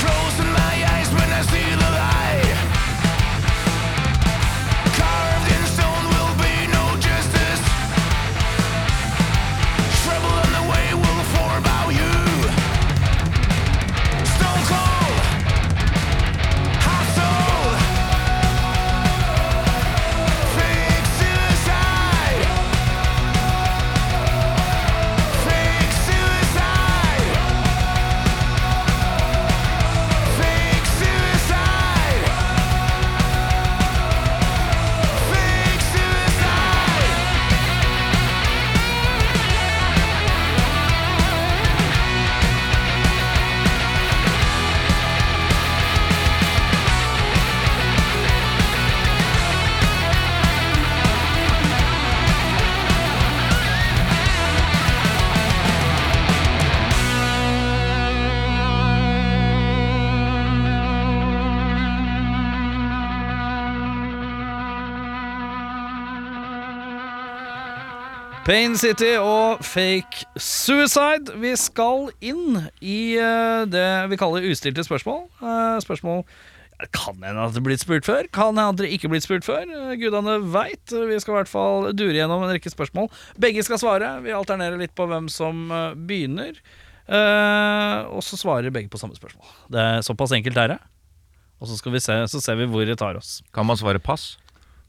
[SPEAKER 5] Closing my eyes when I see the light. Carved in stone will be no justice. Trouble on the way will form about you. Stone cold. Hot soul. Fake suicide. Fake suicide. Fake suicide. Fake suicide.
[SPEAKER 1] Pain City og Fake Suicide. Vi skal inn i eh, det vi kaller ustilte spørsmål. Eh, spørsmål kan hende at det blitt spurt før, kan hende at det ikke blitt spurt før. Eh, Gudene veit. Vi skal i hvert fall dure gjennom en rekke spørsmål. Begge skal svare. Vi alternerer litt på hvem som eh, begynner. Eh, og så svarer begge på samme spørsmål. Det er Såpass enkelt er det. Og så, skal vi se, så ser vi hvor det tar oss.
[SPEAKER 4] Kan man svare pass?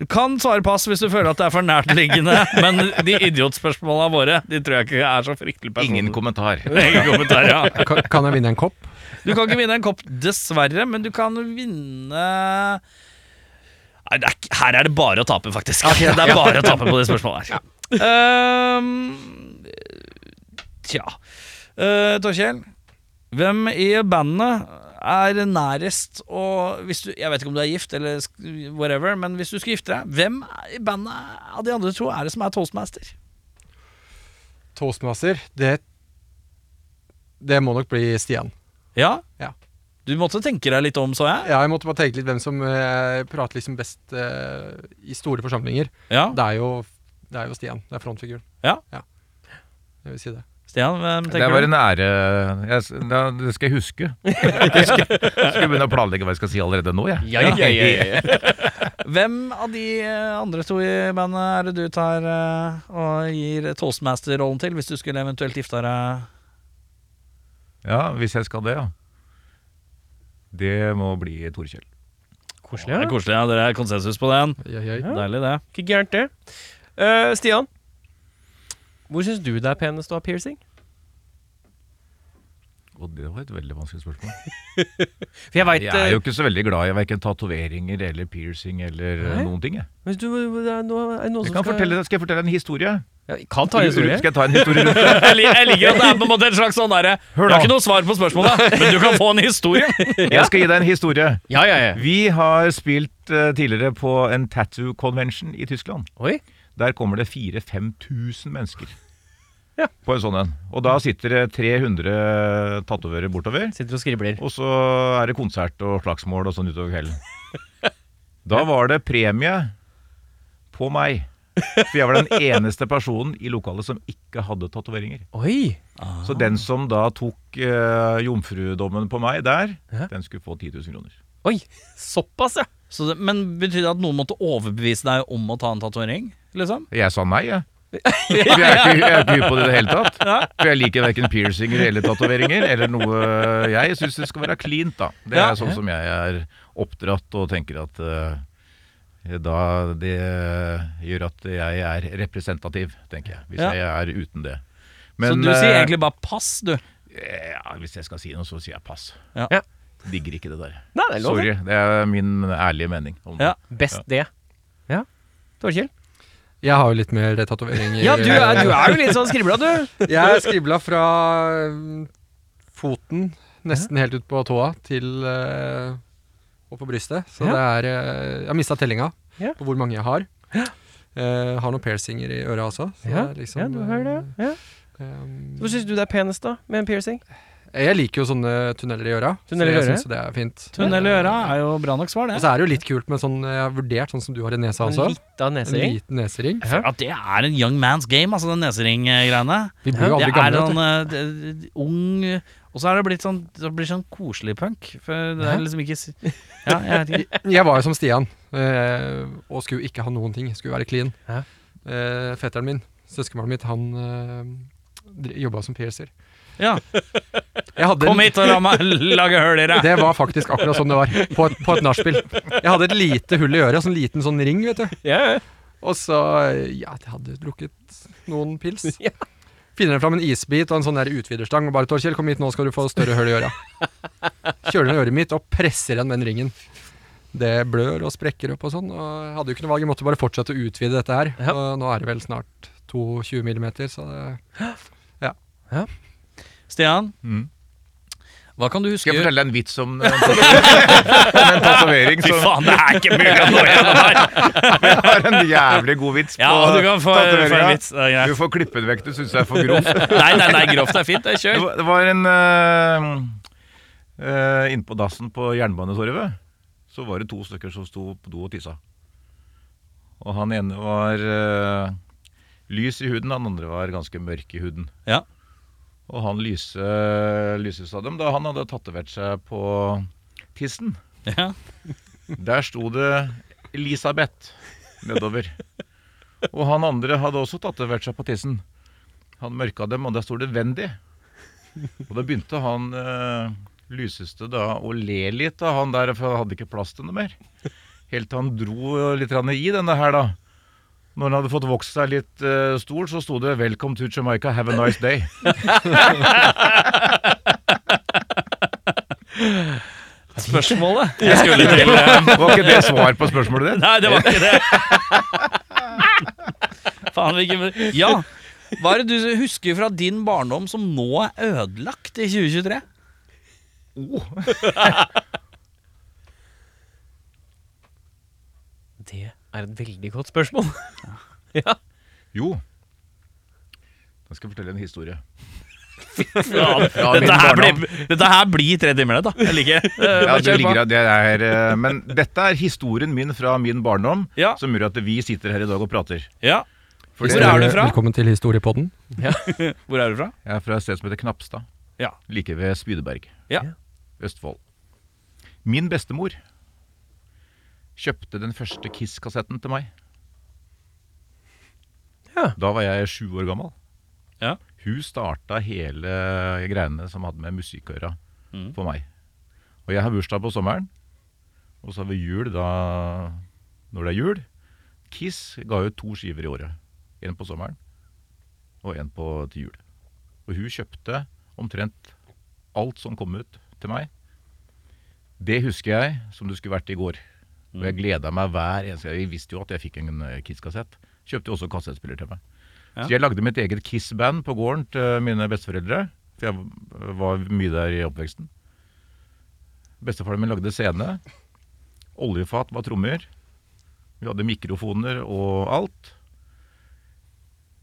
[SPEAKER 1] Du kan svare pass hvis du føler at det er for nærtliggende, men de idiotspørsmåla våre De tror jeg ikke er så fryktelig personlige.
[SPEAKER 4] Ingen kommentar.
[SPEAKER 1] Ingen kommentar, ja.
[SPEAKER 3] Kan, kan jeg vinne en kopp?
[SPEAKER 1] Du kan ikke vinne en kopp, dessverre, men du kan vinne Nei, det er, ikke- her er det bare å tape, faktisk. Det er bare å tape på det spørsmålet her. Ehm, tja uh, Torkjell, hvem i bandet er nærest og hvis du, Jeg vet ikke om du er gift, eller sk- whatever, men hvis du skal gifte deg, hvem i bandet av de andre to er det som er toastmaster?
[SPEAKER 3] Toastmaster, det Det må nok bli Stian.
[SPEAKER 1] Ja?
[SPEAKER 3] Ja.
[SPEAKER 1] Du måtte tenke deg litt om, så jeg.
[SPEAKER 3] Ja, jeg måtte bare tenke litt hvem som eh, prater liksom best eh, i store forsamlinger.
[SPEAKER 1] Ja,
[SPEAKER 3] Det er jo, det er jo Stian. Det er frontfiguren.
[SPEAKER 1] Ja.
[SPEAKER 3] Jeg vil si det.
[SPEAKER 1] Stian, hvem tenker
[SPEAKER 4] Det var
[SPEAKER 1] du?
[SPEAKER 4] en ære jeg, s- da, Det skal jeg huske. Jeg skal, skal begynne å planlegge hva jeg skal si allerede nå, jeg.
[SPEAKER 2] Ja, ja, ja, ja, ja.
[SPEAKER 1] Hvem av de eh, andre to i bandet er det du tar eh, og gir toastmaster-rollen til, hvis du skulle eventuelt gifta deg?
[SPEAKER 4] Ja, Hvis jeg skal det, ja. Det må bli Torkjell.
[SPEAKER 2] Koselig,
[SPEAKER 1] Det
[SPEAKER 2] ja.
[SPEAKER 1] er koselig, ja. Dere er konsensus på den.
[SPEAKER 3] Oi, oi, oi.
[SPEAKER 2] Ja.
[SPEAKER 1] Deilig, det.
[SPEAKER 2] Ikke gærent, det. Eh, Stian, hvor syns du det er penest å ha piercing?
[SPEAKER 4] Og det var et veldig vanskelig spørsmål.
[SPEAKER 2] For jeg eh, veit
[SPEAKER 4] Jeg er jo ikke så veldig glad i verken tatoveringer eller piercing eller eh,
[SPEAKER 2] Nei.
[SPEAKER 4] noen ting. Jeg.
[SPEAKER 2] Hvis du, det er noe, er det noen
[SPEAKER 4] Jeg
[SPEAKER 2] som
[SPEAKER 4] kan fortelle, skal jeg fortelle en historie?
[SPEAKER 2] Ja, jeg kan ta en historie.
[SPEAKER 4] Skal jeg ta en historie rundt det?
[SPEAKER 1] Jeg, lik- jeg liker at det er på en måte en slags sånn derre
[SPEAKER 4] Hør
[SPEAKER 1] Jeg har
[SPEAKER 4] da.
[SPEAKER 1] ikke noe svar på spørsmålet, men du kan få en historie.
[SPEAKER 4] Jeg skal gi deg en historie.
[SPEAKER 2] Ja, ja, ja.
[SPEAKER 4] Vi har spilt eh, tidligere på en tattoo convention i Tyskland.
[SPEAKER 2] Oi.
[SPEAKER 4] Der kommer det 4000-5000 mennesker
[SPEAKER 2] Ja.
[SPEAKER 4] på en sånn en. Og da sitter det 300 tatoverer bortover.
[SPEAKER 2] Sitter og skribler.
[SPEAKER 4] Og så er det konsert og slagsmål og sånn utover kvelden. Da var det premie på meg. For jeg var den eneste personen i lokalet som ikke hadde tatoveringer.
[SPEAKER 2] Oi.
[SPEAKER 4] Så den som da tok eh, jomfrudommen på meg der,
[SPEAKER 2] Ja.
[SPEAKER 4] den skulle få 10 000 kroner.
[SPEAKER 2] Oi. Såpass, ja.
[SPEAKER 1] Så det, men betyr det at noen måtte overbevise deg om å ta en tatovering? Liksom?
[SPEAKER 4] Jeg sa nei, jeg. For jeg er ikke, jeg er ikke hypp på det i det hele tatt. For jeg liker verken piercinger eller tatoveringer. Eller noe Jeg syns det skal være cleant, da. Det
[SPEAKER 1] Ja.
[SPEAKER 4] er sånn som jeg er oppdratt og tenker at eh, da Det gjør at jeg er representativ, tenker jeg. Hvis
[SPEAKER 1] Ja.
[SPEAKER 4] jeg er uten det.
[SPEAKER 1] så du sier
[SPEAKER 4] eh,
[SPEAKER 1] egentlig bare pass, du.
[SPEAKER 4] ja, Hvis jeg skal si noe, så sier jeg pass.
[SPEAKER 1] Ja.
[SPEAKER 2] Ja.
[SPEAKER 4] Digger ikke det der.
[SPEAKER 2] Nei, det er lov.
[SPEAKER 4] Sorry. Det er min ærlige mening. Om det.
[SPEAKER 1] Ja.
[SPEAKER 2] Best det. Ja. Torkjell?
[SPEAKER 3] Jeg har jo litt mer tatoveringer.
[SPEAKER 2] Ja, du er, du er jo litt sånn skribla, du.
[SPEAKER 3] Jeg er skribla fra mm, foten, nesten helt ut på tåa, til eh, og på brystet. Så det er eh, Jeg har mista tellinga
[SPEAKER 2] Ja.
[SPEAKER 3] på hvor mange jeg har. Eh, har noen piercinger i øra også. Så
[SPEAKER 2] Ja,
[SPEAKER 3] det er liksom,
[SPEAKER 2] ja du hører det. Sånn, Ja.
[SPEAKER 3] eh, em,
[SPEAKER 2] Hvor syns du det er penest, da? Med en piercing?
[SPEAKER 3] jeg liker jo sånne tunneler i øra, så
[SPEAKER 2] Tunneler i
[SPEAKER 3] jeg
[SPEAKER 2] øret?
[SPEAKER 3] syns det er fint.
[SPEAKER 1] Tunnel i øra er jo bra nok svar,
[SPEAKER 3] Og
[SPEAKER 1] det.
[SPEAKER 3] så er det jo litt kult med sånn Jeg har vurdert sånn som du har i
[SPEAKER 2] En
[SPEAKER 3] nesa også.
[SPEAKER 2] lita
[SPEAKER 3] En
[SPEAKER 2] nesering?
[SPEAKER 3] liten nesering.
[SPEAKER 1] At det er en young man's game, altså den nesering-greiene.
[SPEAKER 3] Vi blir jo
[SPEAKER 1] Det
[SPEAKER 3] aldri
[SPEAKER 1] er
[SPEAKER 3] gamle. vet du.
[SPEAKER 1] sånn eh, d- d- ung eh, Og så er det blitt sånn, det blir sånn koselig punk. For det er liksom ikke s- Ja, jeg vet ikke.
[SPEAKER 3] Jeg var jo som Stian, eh, og skulle ikke ha noen ting. Skulle være clean.
[SPEAKER 2] Ja.
[SPEAKER 3] Eh, fetteren min, søskenbarnet mitt, han eh, jobba som piercer.
[SPEAKER 1] Ja.
[SPEAKER 3] Jeg hadde
[SPEAKER 1] Kom
[SPEAKER 3] en-
[SPEAKER 1] hit og la meg lage hull i deg!
[SPEAKER 3] Det var faktisk akkurat sånn det var, på et, på et nachspiel. Jeg hadde et lite hull i øret, sånn liten sånn ring, vet du.
[SPEAKER 2] Ja, ja.
[SPEAKER 3] Og så eh, Ja, jeg hadde drukket noen pils.
[SPEAKER 2] Ja.
[SPEAKER 3] Finner fram en isbit og en sånn der utviderstang og bare 'Torkjell, kom hit, nå skal du få større hull i øra'. Kjøler den i øret mitt og presser igjen den ringen. Det blør og sprekker opp og sånn. Og jeg hadde jo ikke noe valg, jeg måtte bare fortsette å utvide dette her.
[SPEAKER 2] Ja.
[SPEAKER 3] Og nå er det vel snart 22 millimeter, så det
[SPEAKER 1] Stian,
[SPEAKER 4] Mm.
[SPEAKER 1] hva kan du huske
[SPEAKER 4] Skal jeg fortelle deg en vits om eh, om en tatovering?
[SPEAKER 1] Fy
[SPEAKER 4] som-
[SPEAKER 1] faen, det er ikke mulig å nå igjennom her!
[SPEAKER 4] Jeg har en jævlig god vits på
[SPEAKER 1] Ja, du kan få, få en
[SPEAKER 4] tatoveringa.
[SPEAKER 1] vits. Det er greit.
[SPEAKER 4] Du får klippe den vekk, du syns det er for grovt.
[SPEAKER 1] Nei, nei, nei, grovt er fint. Det er
[SPEAKER 4] Det
[SPEAKER 1] kjør.
[SPEAKER 4] var- det var en eh, eh, Inne på dassen på Jernbanetorvet så var det to stykker som sto på do og tissa. Og han ene var eh, lys i huden, han andre var ganske mørk i huden.
[SPEAKER 1] Ja.
[SPEAKER 4] Og han lyse, lyses av dem da han hadde tatovert seg på tissen.
[SPEAKER 1] Ja.
[SPEAKER 4] Der sto det Elisabeth nedover. Og han andre hadde også tatovert seg på tissen. Han mørka dem, og der sto det Wendy. Og da begynte han eh, lyseste da å le litt av han der, for han hadde ikke plass til noe mer. Helt til han dro litt grann i denne her, da. Når han hadde fått vokst seg litt eh, stor, så sto det 'Welcome to Jamaica, have a nice day'.
[SPEAKER 1] Spørsmålet?
[SPEAKER 6] Jeg skulle til
[SPEAKER 4] Var ikke det svar på spørsmålet ditt?
[SPEAKER 1] Nei, det var ikke det. Faen, hvilken Ja. Hva er det du husker fra din barndom som nå er ødelagt i 2023?
[SPEAKER 2] Det er et veldig godt spørsmål.
[SPEAKER 4] Jo. Da skal jeg fortelle en historie. min
[SPEAKER 1] dette, her
[SPEAKER 4] barndom.
[SPEAKER 1] blir, dette her blir tre timer, det, da. Jeg liker det. Eh,
[SPEAKER 4] Ja,
[SPEAKER 1] bare
[SPEAKER 4] det
[SPEAKER 1] kjør på.
[SPEAKER 4] ligger, det er, eh, men dette er historien min fra min barndom
[SPEAKER 1] Ja.
[SPEAKER 4] som gjør at vi sitter her i dag og prater.
[SPEAKER 1] ja.
[SPEAKER 4] For
[SPEAKER 1] Hvor er du fra?
[SPEAKER 3] Velkommen til historiepodden.
[SPEAKER 1] Hvor er du fra?
[SPEAKER 4] Jeg er fra et sted som heter Knapstad.
[SPEAKER 1] Ja.
[SPEAKER 4] Like ved Spydeberg.
[SPEAKER 1] Ja.
[SPEAKER 4] Østfold. Min bestemor kjøpte den første Kiss-kassetten til meg.
[SPEAKER 2] Ja.
[SPEAKER 4] Da var jeg sju år gammel.
[SPEAKER 1] Ja.
[SPEAKER 4] Hun starta hele greiene som hadde med musikk å gjøre,
[SPEAKER 1] Mm.
[SPEAKER 4] for meg. Og jeg har bursdag på sommeren, og så har vi jul da når det er jul. Kiss ga ut to skiver i året. Én på sommeren og én på til jul. Og hun kjøpte omtrent alt som kom ut til meg. Det husker jeg som det skulle vært i går. Og jeg gleda meg hver eneste gang. Jeg visste jo at jeg fikk en eh, Kiss-kassett. Kjøpte jo også kassettspiller til meg.
[SPEAKER 1] Ja.
[SPEAKER 4] Så jeg lagde mitt eget Kiss-band på gården til mine besteforeldre. For jeg var mye der i oppveksten. Bestefaren min lagde scene. Oljefat var trommer. Vi hadde mikrofoner og alt.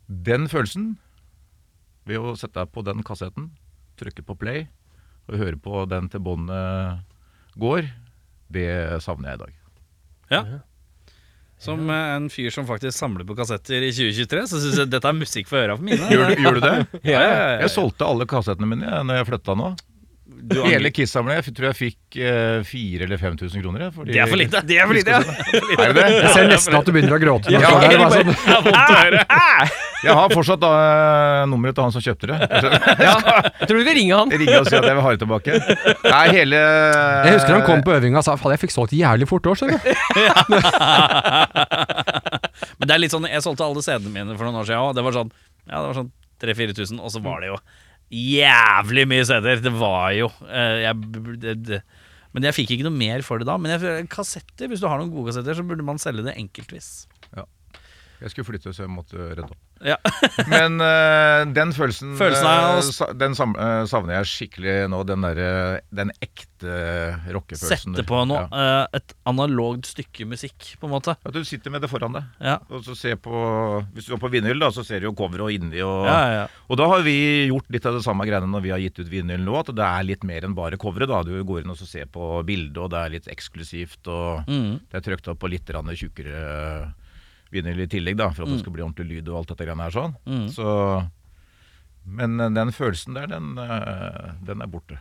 [SPEAKER 4] Den følelsen, ved å sette deg på den kassetten, trykke på play og høre på den til båndet går, det savner jeg i dag.
[SPEAKER 1] Som eh, en fyr som faktisk samler på kassetter i 2023, så syns jeg dette er musikk for øra for mine.
[SPEAKER 4] Gjør, du- gjør du det?
[SPEAKER 1] Ja, ja, ja, ja.
[SPEAKER 4] Jeg solgte alle kassettene mine jeg, når jeg flytta nå.
[SPEAKER 1] Du angrer-
[SPEAKER 4] Hele Kiss-samlingen jeg tror jeg fikk eh, 4000 eller 5000 kroner. jeg, fordi-
[SPEAKER 1] Det er for lite! Det er for lite, ja.
[SPEAKER 4] Er det det?
[SPEAKER 3] Jeg ser nesten at du begynner å gråte.
[SPEAKER 4] Ja,
[SPEAKER 3] Det er
[SPEAKER 4] jeg
[SPEAKER 3] bare sånn-
[SPEAKER 4] Jeg har fortsatt da, eh, nummeret til han som kjøpte det.
[SPEAKER 2] Jeg tror du vil ringe han.
[SPEAKER 4] Jeg ringer og sier at jeg vil ha det tilbake. Nei, hele
[SPEAKER 3] Jeg husker han kom på øvinga og sa faen, jeg fikk solgt jævlig fort år, skjønner du.
[SPEAKER 1] Men det er litt sånn, jeg solgte alle CD-ene mine for noen år siden òg. Det var sånn, ja, det var sånn 3000-4000, og så var det jo jævlig mye CD-er. Det var jo eh, jeg, det, det. Men jeg fikk ikke noe mer for det da. Men jeg, kassetter, hvis du har noen gode kassetter, så burde man selge det enkeltvis.
[SPEAKER 4] Jeg skulle flytte, så jeg måtte redde opp.
[SPEAKER 1] Ja.
[SPEAKER 4] Men eh, den følelsen,
[SPEAKER 1] Følelsen av
[SPEAKER 4] eh,
[SPEAKER 1] å s-
[SPEAKER 4] sa- Den sam eh, savner jeg skikkelig nå. Den, derre- den ekte rockefølelsen.
[SPEAKER 1] Sette på noe,
[SPEAKER 4] Ja.
[SPEAKER 1] eh, et analogt stykke musikk, på en måte.
[SPEAKER 4] At du sitter med det foran deg.
[SPEAKER 1] Ja.
[SPEAKER 4] Og så ser på, Hvis du går på vinyl, da, så ser du jo coveret og inni. Og,
[SPEAKER 1] Ja, ja, ja.
[SPEAKER 4] og da har vi gjort litt av det samme greiene når vi har gitt ut vinyl nå. At det er litt mer enn bare coveret. da Du går inn og så ser på bildet, og det er litt eksklusivt. Og
[SPEAKER 1] Mm.
[SPEAKER 4] det er trykt opp på litt grann tjukkere vinyl i tillegg, da for at det skal bli ordentlig lyd og alt dette greiene her sånn.
[SPEAKER 1] Mm.
[SPEAKER 4] Så, men eh, den følelsen der, den, eh, den er borte.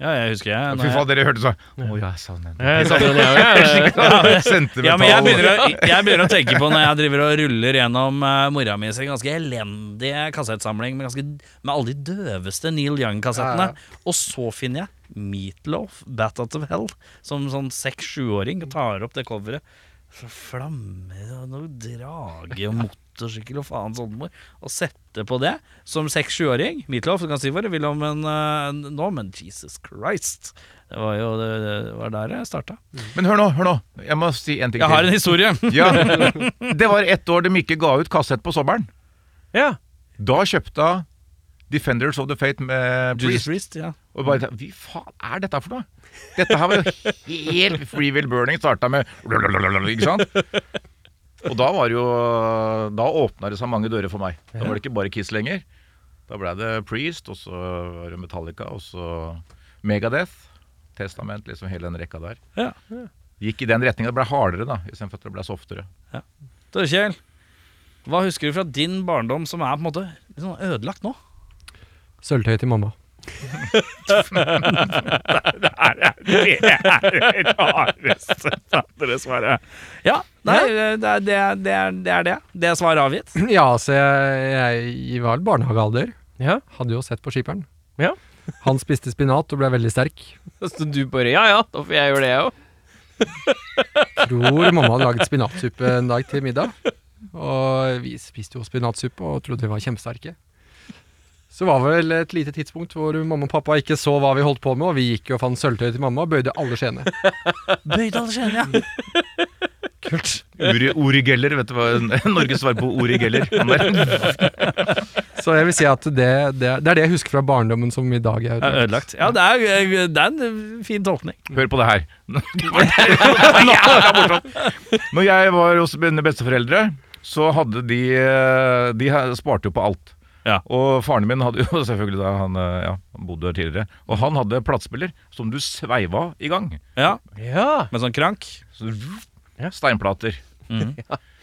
[SPEAKER 1] ja, jeg husker jeg. når
[SPEAKER 4] Fy
[SPEAKER 1] jeg-
[SPEAKER 4] faen, dere hørte sånn Å, jeg savner den.
[SPEAKER 2] Jeg savner den, jeg også, jeg.
[SPEAKER 4] Sentimental.
[SPEAKER 1] Ja, men jeg begynner, å, jeg begynner å tenke på når jeg driver og ruller gjennom uh, mora mi sin ganske elendige kassettsamling med, ganske, med alle de døveste Neil Young-kassettene. Og så finner jeg Meatloaf, Bat Out of Hell, som sånn seks-sjuåring tar opp det coveret. Så flammer og noe drage og motorsykkel og faen sånn mor. Og setter på det som seks-sjuåring. Meatloaf, du kan si hva du vil om en eh, nå, men Jesus Christ. Det var jo det, det var der jeg starta.
[SPEAKER 4] Men hør nå, hør nå. Jeg må si en ting
[SPEAKER 1] Jeg har en historie.
[SPEAKER 4] Ja. Det var ett år de ikke ga ut kassett på sommeren.
[SPEAKER 2] Ja.
[SPEAKER 4] Da kjøpte hun Defenders of the Fate med
[SPEAKER 1] Judas
[SPEAKER 4] Priest.
[SPEAKER 1] Priest, ja.
[SPEAKER 4] Og bare tenkte, Hva faen er dette for noe? Dette her var jo helt Free Will Burning starta med Ikke sant? Og da var det jo Da åpna det seg mange dører for meg. Da var det ikke bare Kiss lenger. Da ble det Priest, og så var det Metallica, og så Megadeth. Testament, liksom hele den rekka der.
[SPEAKER 1] Ja.
[SPEAKER 4] Gikk i den retninga. Det ble hardere, da, istedenfor at det ble softere.
[SPEAKER 1] Torkjell, hva husker du fra din barndom som er på en måte litt sånn ødelagt nå?
[SPEAKER 3] Sølvtøy til mamma.
[SPEAKER 1] Ja, nei, det, er- det, er- det, er, det er det. Det er svaret avgitt.
[SPEAKER 3] Ja, altså, jeg, jeg var barnehagealder.
[SPEAKER 2] ja.
[SPEAKER 3] Hadde jo sett på skipperen.
[SPEAKER 2] Ja.
[SPEAKER 3] Han spiste spinat og ble veldig sterk.
[SPEAKER 2] Så du bare Ja ja, da får jeg gjøre det, jeg òg.
[SPEAKER 3] Tror mamma hadde laget spinatsuppe en dag til middag. Og vi spiste jo spinatsuppe og trodde vi var kjempesterke. Så var vel et lite tidspunkt hvor mamma og pappa ikke så hva vi holdt på med, og vi gikk og fant sølvtøy til mamma og bøyde alle skjeene.
[SPEAKER 1] Bøyd alle skjeene, ja.
[SPEAKER 3] Kult.
[SPEAKER 4] Uri, Uri Geller, vet du hva Norges svar på Uri Geller? Han der.
[SPEAKER 3] Så jeg vil si at det, det, det er det jeg husker fra barndommen som i dag er
[SPEAKER 1] Er
[SPEAKER 3] ødelagt.
[SPEAKER 1] Ødelagt. Ja, det er, eh, det er en fin tolkning.
[SPEAKER 4] Hør på det her. Når jeg var hos mine besteforeldre, så hadde de eh, De ha- sparte jo på alt.
[SPEAKER 1] Ja.
[SPEAKER 4] Og faren min hadde jo selvfølgelig da Han eh, ja, han bodde her tidligere. Og han hadde platespiller som du sveiva i gang.
[SPEAKER 1] Ja,
[SPEAKER 2] Ja.
[SPEAKER 1] Med sånn krank.
[SPEAKER 4] Så, vruff, Steinplater. Mhm.